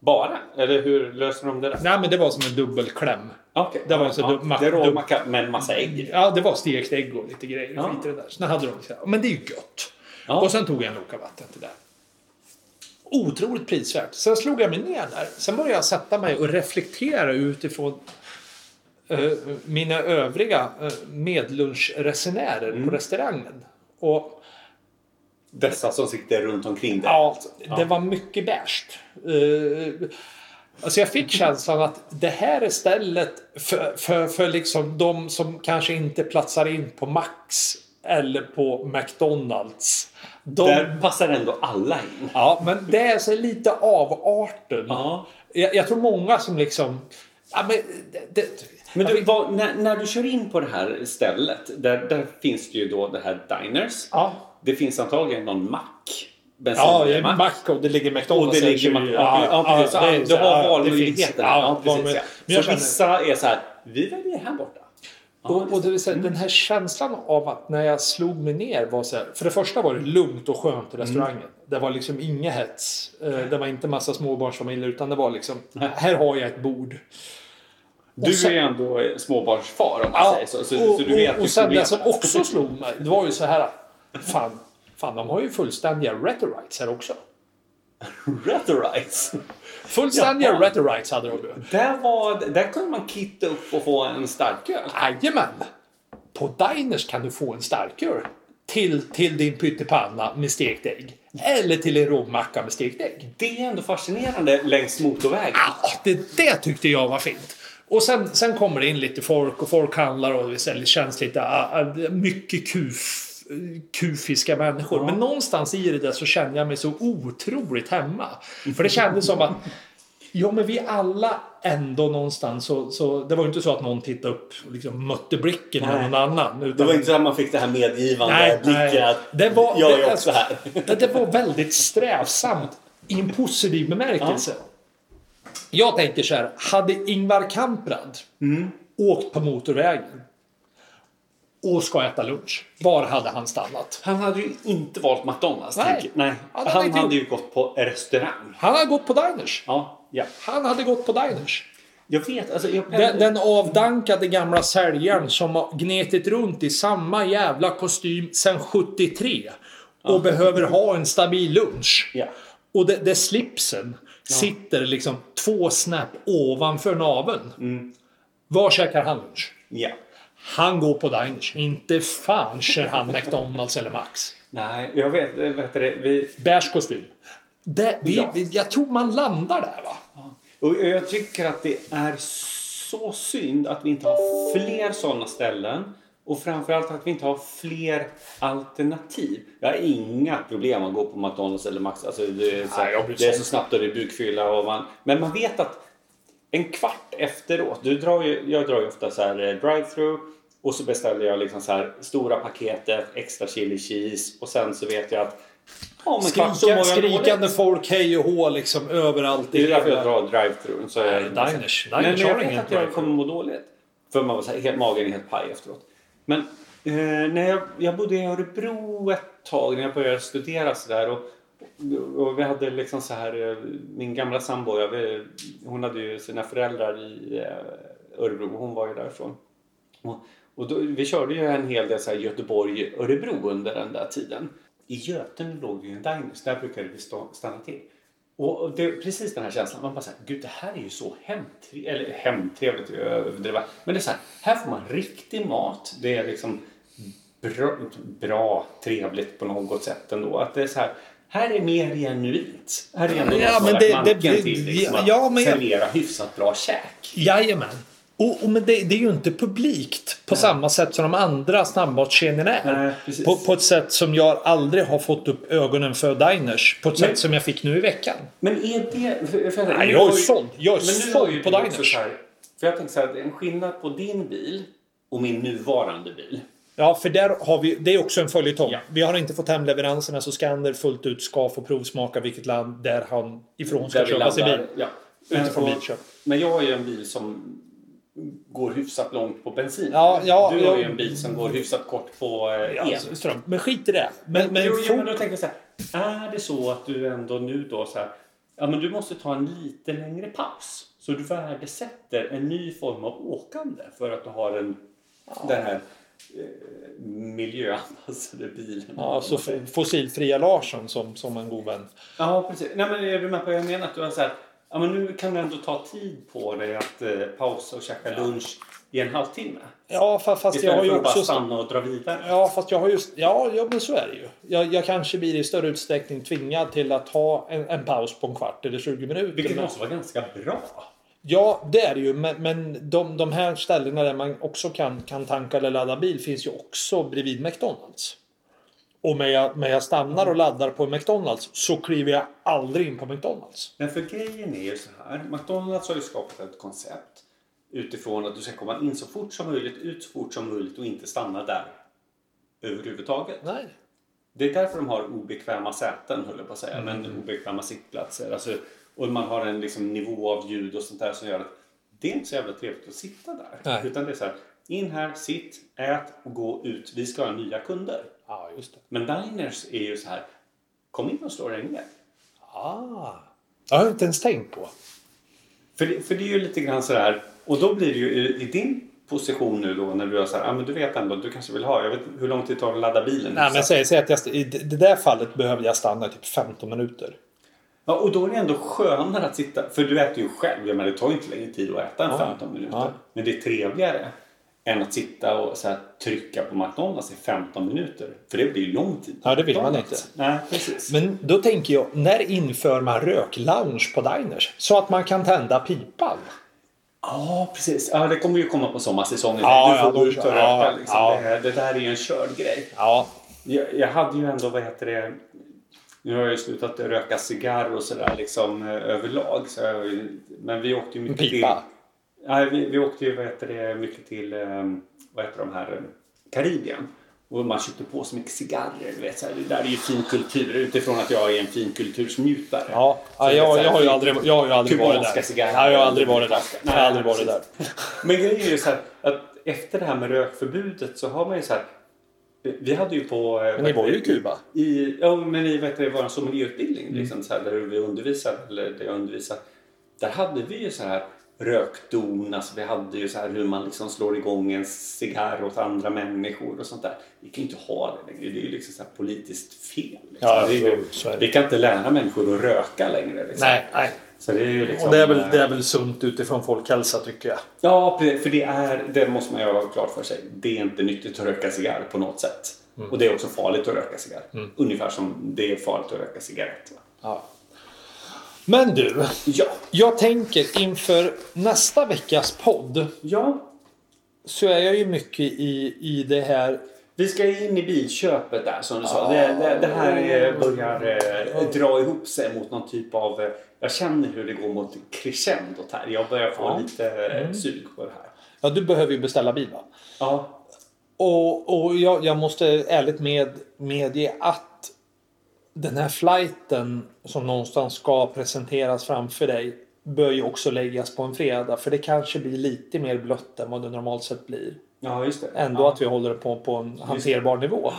Speaker 1: Bara? Eller hur löser de det där?
Speaker 2: Nej men det var som en dubbelkläm.
Speaker 1: Okej.
Speaker 2: Det var en sån
Speaker 1: ja,
Speaker 2: dum-
Speaker 1: Det är
Speaker 2: dum-
Speaker 1: råmacka med en massa ägg.
Speaker 2: Ja, det var stekt ägg och lite grejer.
Speaker 1: Ja.
Speaker 2: Skit i det där. Så den hade de så här. Men det är ju gött.
Speaker 1: Ja.
Speaker 2: Och sen tog jag en Loka vatten till det. Otroligt prisvärt. Sen slog jag mig ner där. Sen började jag sätta mig och reflektera utifrån eh, mina övriga eh, medlunchresenärer
Speaker 1: Mm.
Speaker 2: på restaurangen. Och
Speaker 1: Dessa som sitter runt omkring dig.
Speaker 2: ja, alltså, det var mycket bärst. Eh, Alltså jag fick känslan att det här är stället för, för, för liksom de som kanske inte platsar in på Max eller på McDonalds. De,
Speaker 1: Där passar ändå alla in.
Speaker 2: Ja, men det är så lite avarten.
Speaker 1: Ja.
Speaker 2: Jag, jag tror många som liksom... Ja, men det, det,
Speaker 1: Men du, vad, när, när du kör in på det här stället, där, där finns det ju då det här Diners.
Speaker 2: ja.
Speaker 1: Det finns antagligen någon mack.
Speaker 2: Ja, det är
Speaker 1: Bensinmack.
Speaker 2: mack och det ligger
Speaker 1: Och
Speaker 2: McDonalds.
Speaker 1: det ligger man... Ja, ja, precis.
Speaker 2: det är
Speaker 1: Ja,
Speaker 2: så
Speaker 1: du
Speaker 2: här, ja,
Speaker 1: har
Speaker 2: det finns-
Speaker 1: valmöjligheten. Ja, precis.
Speaker 2: valmöj-
Speaker 1: ja.
Speaker 2: Men jag
Speaker 1: Så
Speaker 2: känner-
Speaker 1: vissa är så här, vi väljer här borta. Ja,
Speaker 2: Och, och det vill säga, den här känslan av att när jag slog mig ner var så här, För det första var det lugnt och skönt i
Speaker 1: Mm.
Speaker 2: restaurangen. Det var liksom inget hets. Eh, Det var inte massa småbarnsfamiljer utan det var liksom, här har jag ett bord.
Speaker 1: Du
Speaker 2: sen-
Speaker 1: är ändå eh, småbarnsfar om man säger så. Så,
Speaker 2: och,
Speaker 1: så du vet
Speaker 2: och,
Speaker 1: hur
Speaker 2: och sen det
Speaker 1: problemet-
Speaker 2: som också slog mig, det var ju så här. Fan, fan de har ju fullständiga retorites här också.
Speaker 1: Rhetorites.
Speaker 2: Fullständiga
Speaker 1: Jaha.
Speaker 2: retorites hade de ju.
Speaker 1: Där, var, där kunde man kitta upp och få en starköl.
Speaker 2: Jajamän! På Diners kan du få en starköl. Till, till din pyttipanna med stekt ägg.
Speaker 1: Mm.
Speaker 2: Eller till en rågmacka med stekt ägg.
Speaker 1: Det är ändå fascinerande längs motorvägen.
Speaker 2: Ah, det, det tyckte jag var fint. Och sen, sen kommer det in lite folk och folk handlar och det säljer- känns lite ah, ah, mycket kuf, kufiska människor. Men någonstans i det där så kände jag mig så otroligt hemma. För det kändes som att Ja men vi alla ändå någonstans så, så det var ju inte så att någon tittade upp och liksom mötte blicken med
Speaker 1: Nej.
Speaker 2: någon annan. Utan
Speaker 1: Det var inte så att man fick det här medgivande blicken att
Speaker 2: det var,
Speaker 1: jag
Speaker 2: det-
Speaker 1: är också här.
Speaker 2: Det, det var väldigt strävsamt i en positiv bemärkelse. Jag tänker så här, hade Ingvar Kamprad
Speaker 1: Mm.
Speaker 2: åkt på motorvägen och ska äta lunch, var hade han stannat?
Speaker 1: Han hade ju inte valt McDonalds.
Speaker 2: Nej.
Speaker 1: tänker- Nej.
Speaker 2: Ja, det hade
Speaker 1: Han
Speaker 2: inte
Speaker 1: hade ju gått på restaurang.
Speaker 2: Han hade gått på diners.
Speaker 1: Ja, ja.
Speaker 2: Han hade gått på diners.
Speaker 1: Jag vet, alltså jag
Speaker 2: Den, den avdankade gamla säljaren som har gnetit runt i samma jävla kostym sedan 73. Och behöver ha en stabil lunch.
Speaker 1: Ja.
Speaker 2: Och det, det slipsen sitter liksom två snäpp ovanför naveln.
Speaker 1: Mm.
Speaker 2: Var käkar han lunch?
Speaker 1: Ja.
Speaker 2: Han går på diners. Inte fan kör han McDonalds eller Max.
Speaker 1: Nej, jag vet. eh, Vet du det, vi,
Speaker 2: Beige kostym. Det, vi,
Speaker 1: Ja.
Speaker 2: vi, jag tror man landar där va?
Speaker 1: och jag tycker att det är så synd att vi inte har fler sådana ställen. Och framförallt att vi inte har fler alternativ. Jag har inga problem att gå på McDonalds eller Max. Alltså, det, är så,
Speaker 2: Nej, jag blir
Speaker 1: det är
Speaker 2: sån.
Speaker 1: så snabbt och det är bukfylla. Och man, men man vet att en kvart efteråt. Du drar ju, jag drar ju ofta så här eh, drive-through och så beställer jag liksom så här stora paketet, extra chili cheese och sen så vet jag att om en kvart så mår
Speaker 2: Skrika,
Speaker 1: jag dåligt.
Speaker 2: skrikande folk hej och hå liksom överallt.
Speaker 1: Det är därför jag
Speaker 2: hela-
Speaker 1: drar drive-thrun. Så
Speaker 2: Nej,
Speaker 1: jag,
Speaker 2: diners.
Speaker 1: men
Speaker 2: Diners har
Speaker 1: jag vet
Speaker 2: ingen
Speaker 1: att jag
Speaker 2: drive-thru.
Speaker 1: kommer må dåligt. För man var så här, helt, magen är helt paj efteråt. Men eh, när jag, jag bodde i Örebro ett tag när jag började studera så där. Och, och vi hade liksom så här, eh, min gamla sambo, jag, vi- hon hade ju sina föräldrar i eh, Örebro. Hon var ju därifrån. Och, och då, vi körde ju en hel del så här Göteborg-Örebro under den där tiden. I Göten låg ju en diners, där brukade vi stå, stanna till. Och det är precis den här känslan, man bara såhär, gud det här är ju så hemtrevligt, eller hemtrevligt är ju att överdriva. Men det är såhär, här får man riktig mat, det är liksom bra, bra trevligt på något sätt ändå. Att det är så här, här är mer genuint. Här är ändå
Speaker 2: Ja,
Speaker 1: något
Speaker 2: men
Speaker 1: som
Speaker 2: det-
Speaker 1: har lagt
Speaker 2: det-
Speaker 1: manken till liksom, att
Speaker 2: ja, men jag-
Speaker 1: servera hyfsat bra käk.
Speaker 2: Jajamän. Och, och men det, det är ju inte publikt på samma sätt som de andra snabbmatskedjorna är.
Speaker 1: Nej, precis.
Speaker 2: på, på ett sätt som jag aldrig har fått upp ögonen för diners. På ett
Speaker 1: Men-
Speaker 2: sätt som jag fick nu i veckan.
Speaker 1: Men är det... För, för,
Speaker 2: Nej,
Speaker 1: nu
Speaker 2: jag är
Speaker 1: har ju-
Speaker 2: såld. Jag är
Speaker 1: men nu
Speaker 2: såld
Speaker 1: har ju
Speaker 2: på
Speaker 1: du
Speaker 2: diners.
Speaker 1: också så här- För jag tänker så här, det är en skillnad på din bil och min nuvarande bil.
Speaker 2: Ja, för där har vi, det är också en följetong.
Speaker 1: Ja.
Speaker 2: Vi har inte fått hem leveranserna så Skander fullt ut ska få provsmaka vilket land där han ifrån ska
Speaker 1: Där vi
Speaker 2: köpa sin bil.
Speaker 1: landar, Ja.
Speaker 2: Utifrån
Speaker 1: Men- och-
Speaker 2: bilköp.
Speaker 1: Men jag har ju en bil som går hyfsat långt på bensin.
Speaker 2: Ja, ja,
Speaker 1: du har ju
Speaker 2: ja.
Speaker 1: en bil som går hyfsat kort på eh, el.
Speaker 2: Ja, ström. Men skit i det. Men, men,
Speaker 1: men, jo, jo, men
Speaker 2: fort-
Speaker 1: då tänker jag så här. Är det så att du ändå nu då så här. Ja, men du måste ta en lite längre paus. Så du värdesätter en ny form av åkande för att du har en, den här eh, miljöanpassade bilen.
Speaker 2: Ja, så f- fossilfria Larsson som, som en god vän.
Speaker 1: Ja, precis. Nej, men är du med på vad jag menar? Att du har så här, ja, men nu kan du ändå ta tid på dig att eh, pausa och käka lunch i en halvtimme.
Speaker 2: Ja, fa- fast jag
Speaker 1: Istället
Speaker 2: har ju
Speaker 1: för att bara
Speaker 2: också...
Speaker 1: stanna och dra vidare.
Speaker 2: Ja, fast jag har just... Ja, ja men så är det ju. Jag, jag kanske blir i större utsträckning tvingad till att ha en, en paus på en kvart eller 20 minuter.
Speaker 1: Vilket
Speaker 2: men,
Speaker 1: måste vara ganska bra.
Speaker 2: ja, det är det ju. Men, men de, de här ställena där man också kan, kan tanka eller ladda bil finns ju också bredvid McDonalds. Och när jag, när jag stannar och laddar på McDonalds så kliver jag aldrig in på McDonalds.
Speaker 1: Men för grejen är ju så här. McDonalds har ju skapat ett koncept utifrån att du ska komma in så fort som möjligt, ut så fort som möjligt och inte stanna där överhuvudtaget.
Speaker 2: Nej.
Speaker 1: Det är därför de har obekväma säten, höll jag på att säga, men obekväma sittplatser. Alltså, och man har en liksom, nivå av ljud och sånt där som gör att det är inte så jävla trevligt att sitta där.
Speaker 2: Nej.
Speaker 1: Utan det är så här, in här, sitt, ät och gå ut. Vi ska ha nya kunder.
Speaker 2: Ja, just det.
Speaker 1: Men diners är ju så här, kom in och slå dig ner.
Speaker 2: Ah. Jag har inte ens tänkt på.
Speaker 1: För det, för det är ju lite grann så här, och då blir det ju i, i din position nu då när du är så här, ah, men du vet ändå, du kanske vill ha, jag vet hur lång tid tar det att ladda bilen?
Speaker 2: Nej, men
Speaker 1: Så-
Speaker 2: säg, säg att jag, st- i det det där fallet behövde jag stanna i typ 15 minuter.
Speaker 1: Ja, och då är det ändå skönare att sitta... För du äter ju själv. Jag menar, det tar ju inte längre tid att äta än
Speaker 2: Ja.
Speaker 1: 15 minuter.
Speaker 2: Ja.
Speaker 1: Men det är trevligare än att sitta och så här, trycka på McDonalds i 15 minuter. För det blir ju lång tid. på
Speaker 2: Ja, det vill man
Speaker 1: McDonald's. Nej, precis.
Speaker 2: Men då tänker jag, när inför man röklounge på diners? Så att man kan tända pipan?
Speaker 1: Ja, precis. Ja, det kommer ju komma på sommarsäsongen.
Speaker 2: Ja,
Speaker 1: du får
Speaker 2: ja,
Speaker 1: gå
Speaker 2: då-
Speaker 1: ut och röka.
Speaker 2: ja,
Speaker 1: liksom.
Speaker 2: ja.
Speaker 1: det, här, det där är ju en körd grej.
Speaker 2: Ja.
Speaker 1: Jag, jag hade ju ändå, vad heter det, nu har jag ju slutat röka cigarr och sådär liksom eh, överlag. Så jag, har ju- men vi åkte ju mycket
Speaker 2: Pipa?
Speaker 1: till... Nej, vi, vi åkte ju vad heter det, mycket till ehm, vad heter de här, ehm, Karibien. Och man köpte på sig mycket cigarrer. Du vet, så här, det där är ju fin kultur utifrån att jag är en fin kultursnjutare.
Speaker 2: Ja,
Speaker 1: Så
Speaker 2: ja
Speaker 1: det är så
Speaker 2: jag,
Speaker 1: här,
Speaker 2: jag har ju
Speaker 1: fin-
Speaker 2: aldrig, jag har ju aldrig varit
Speaker 1: Kubanska
Speaker 2: där.
Speaker 1: cigarrer.
Speaker 2: Ja, jag har aldrig varit där. Jag har
Speaker 1: Nej,
Speaker 2: aldrig varit där.
Speaker 1: precis. Men grejen är ju så här att efter det här med rökförbudet så har man ju så här. Vi hade ju på... eh,
Speaker 2: Men ni var ju i Kuba.
Speaker 1: i, ja, men i vad heter det, vår
Speaker 2: Mm.
Speaker 1: sommelierutbildning, liksom, så här, där vi undervisar, eller där jag undervisar, där hade vi ju så här rökdonas. Vi hade ju så här hur man liksom slår igång en cigarr åt andra människor och sånt där. Vi kan ju inte ha det längre. Det är ju liksom så här politiskt fel. Liksom.
Speaker 2: Ja,
Speaker 1: det är ju,
Speaker 2: så- så är det.
Speaker 1: Vi kan inte lära människor att röka längre. Liksom.
Speaker 2: Nej, nej.
Speaker 1: Så det är ju liksom,
Speaker 2: Och det är, väl, det är väl sunt utifrån folkhälsa tycker jag.
Speaker 1: Ja, precis. för det är, det måste man ju ha klart för sig. Det är inte nyttigt att röka cigarr på något sätt.
Speaker 2: Mm.
Speaker 1: Och det är också farligt att röka cigarr. Ungefär som det är farligt att röka cigarett. Va?
Speaker 2: Men du,
Speaker 1: Ja.
Speaker 2: jag tänker inför nästa veckas podd
Speaker 1: ja,
Speaker 2: så är jag ju mycket i, i det här
Speaker 1: vi ska ju in i bilköpet där som du sa. Det, det, det här eh, börjar eh, dra ihop sig mot någon typ av... eh, Jag känner hur det går mot crescendot här. Jag börjar få
Speaker 2: Ja. Mm.
Speaker 1: lite eh, sug på det här.
Speaker 2: Ja, du behöver ju beställa bil va?
Speaker 1: Ja,
Speaker 2: Och, och jag, jag måste ärligt med, medge att den här flighten som någonstans ska presenteras framför dig bör ju också läggas på en fredag. För det kanske blir lite mer blött än vad det normalt sett blir.
Speaker 1: ja just det.
Speaker 2: Ändå
Speaker 1: ja.
Speaker 2: att vi håller det på, på en hanterbar nivå.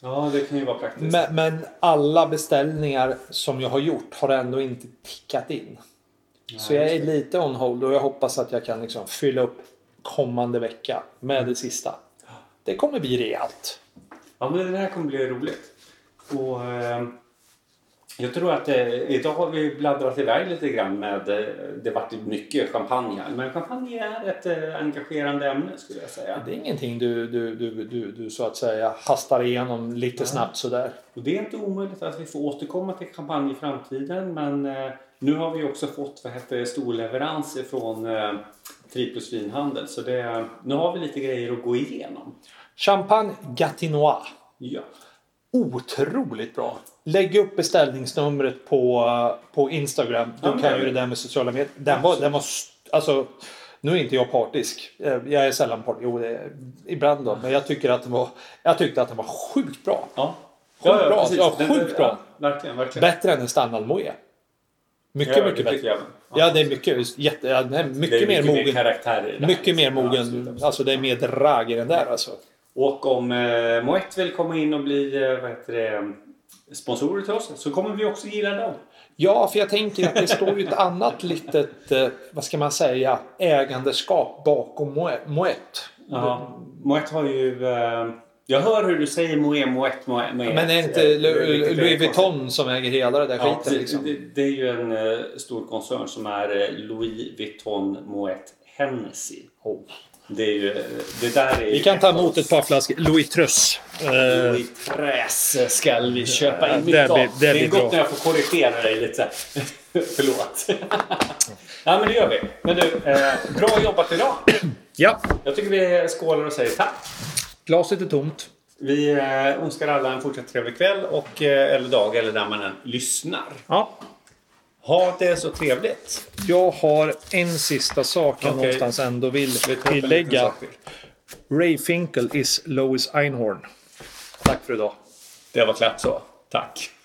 Speaker 1: ja, det kan ju vara praktiskt.
Speaker 2: Men, men alla beställningar som jag har gjort har ändå inte tickat in. Så jag är lite on hold och jag hoppas att jag kan liksom fylla upp kommande vecka
Speaker 1: Mm.
Speaker 2: med det sista. Det kommer bli rejält.
Speaker 1: Ja, men det här kommer bli roligt. Och, eh, jag tror att eh, idag har vi bladdrat iväg lite grann med... Eh, det vart ju mycket champagne här. Men champagne är ett eh, engagerande ämne skulle jag säga.
Speaker 2: Det är ingenting du, du, du, du, du så att säga hastar igenom lite snabbt sådär.
Speaker 1: Och det är inte omöjligt att vi får återkomma till champagne i framtiden. Men eh, nu har vi också fått vad heter det, storleverans från eh, Triplus vinhandel. Så det, nu har vi lite grejer att gå igenom.
Speaker 2: Champagne Gatinois.
Speaker 1: Ja.
Speaker 2: Otroligt bra! Lägg upp beställningsnumret på, på Instagram. Du
Speaker 1: Ja, men
Speaker 2: kan
Speaker 1: jag
Speaker 2: ju det
Speaker 1: gör
Speaker 2: där med sociala medier. Den var, den var, st- alltså, nu är inte jag partisk. Eh, Jag är sällan partisk. Jo, det är, ibland då. Men jag, tycker att den var, jag tyckte att den var sjukt bra.
Speaker 1: Ja.
Speaker 2: Sjukt bra, ja,
Speaker 1: Den-
Speaker 2: sjukt
Speaker 1: den-
Speaker 2: bra.
Speaker 1: Ja, verkligen, verkligen.
Speaker 2: Bättre än en standard Moët. Mycket,
Speaker 1: Ja, det
Speaker 2: mycket
Speaker 1: tycker
Speaker 2: bättre.
Speaker 1: jag. Ja.
Speaker 2: Ja, det är mycket, jätte, ja, det är mycket,
Speaker 1: Det är
Speaker 2: mer mogen.
Speaker 1: karaktär i det här.
Speaker 2: Mycket mer
Speaker 1: Ja, absolut,
Speaker 2: mogen.
Speaker 1: absolut.
Speaker 2: Alltså det är mer drag i den där alltså.
Speaker 1: Och om eh, Moët vill komma in och bli eh, vad heter det, sponsorer till oss så kommer vi också gilla dem.
Speaker 2: Ja, för jag tänker att det står ju ett annat litet, eh, vad ska man säga, ägandeskap bakom Moe- Moët.
Speaker 1: Ja. Moët har ju... Eh, jag hör hur du säger Moët, Moët, Moët. Moët.
Speaker 2: Men är inte
Speaker 1: Eh,
Speaker 2: Lu-
Speaker 1: det är lite
Speaker 2: Louis
Speaker 1: konstigt.
Speaker 2: Vuitton som äger hela det där
Speaker 1: Ja,
Speaker 2: skiten?
Speaker 1: precis. det,
Speaker 2: Liksom.
Speaker 1: det är ju en eh, stor koncern som är eh, Louis Vuitton Moët Hennessy. Det är ju... eh, Det där är
Speaker 2: Oh. Vi
Speaker 1: ju
Speaker 2: kan ta
Speaker 1: ett av
Speaker 2: emot ett par flaskor Louis Truss. Eh,
Speaker 1: Louis Träs ska vi köpa
Speaker 2: Ja,
Speaker 1: in
Speaker 2: det
Speaker 1: mycket av.
Speaker 2: blir- det
Speaker 1: Det är
Speaker 2: blir bra.
Speaker 1: gott när jag får korrigera dig lite. så här. Förlåt. ja, men det gör vi. Men du, eh, bra jobbat idag.
Speaker 2: ja,
Speaker 1: Jag tycker vi skålar och säger tack.
Speaker 2: glaset är tomt.
Speaker 1: Vi eh, önskar alla en fortsatt trevlig kväll och, eh, eller dag eller när man än lyssnar.
Speaker 2: Ja,
Speaker 1: Ha det så trevligt.
Speaker 2: jag har en sista sak jag
Speaker 1: Okej.
Speaker 2: någonstans ändå vill
Speaker 1: Vi tar upp en liten
Speaker 2: tillägga.
Speaker 1: sak till.
Speaker 2: Ray Finkel is Lois Einhorn. Tack för idag.
Speaker 1: Det var klart så. Tack.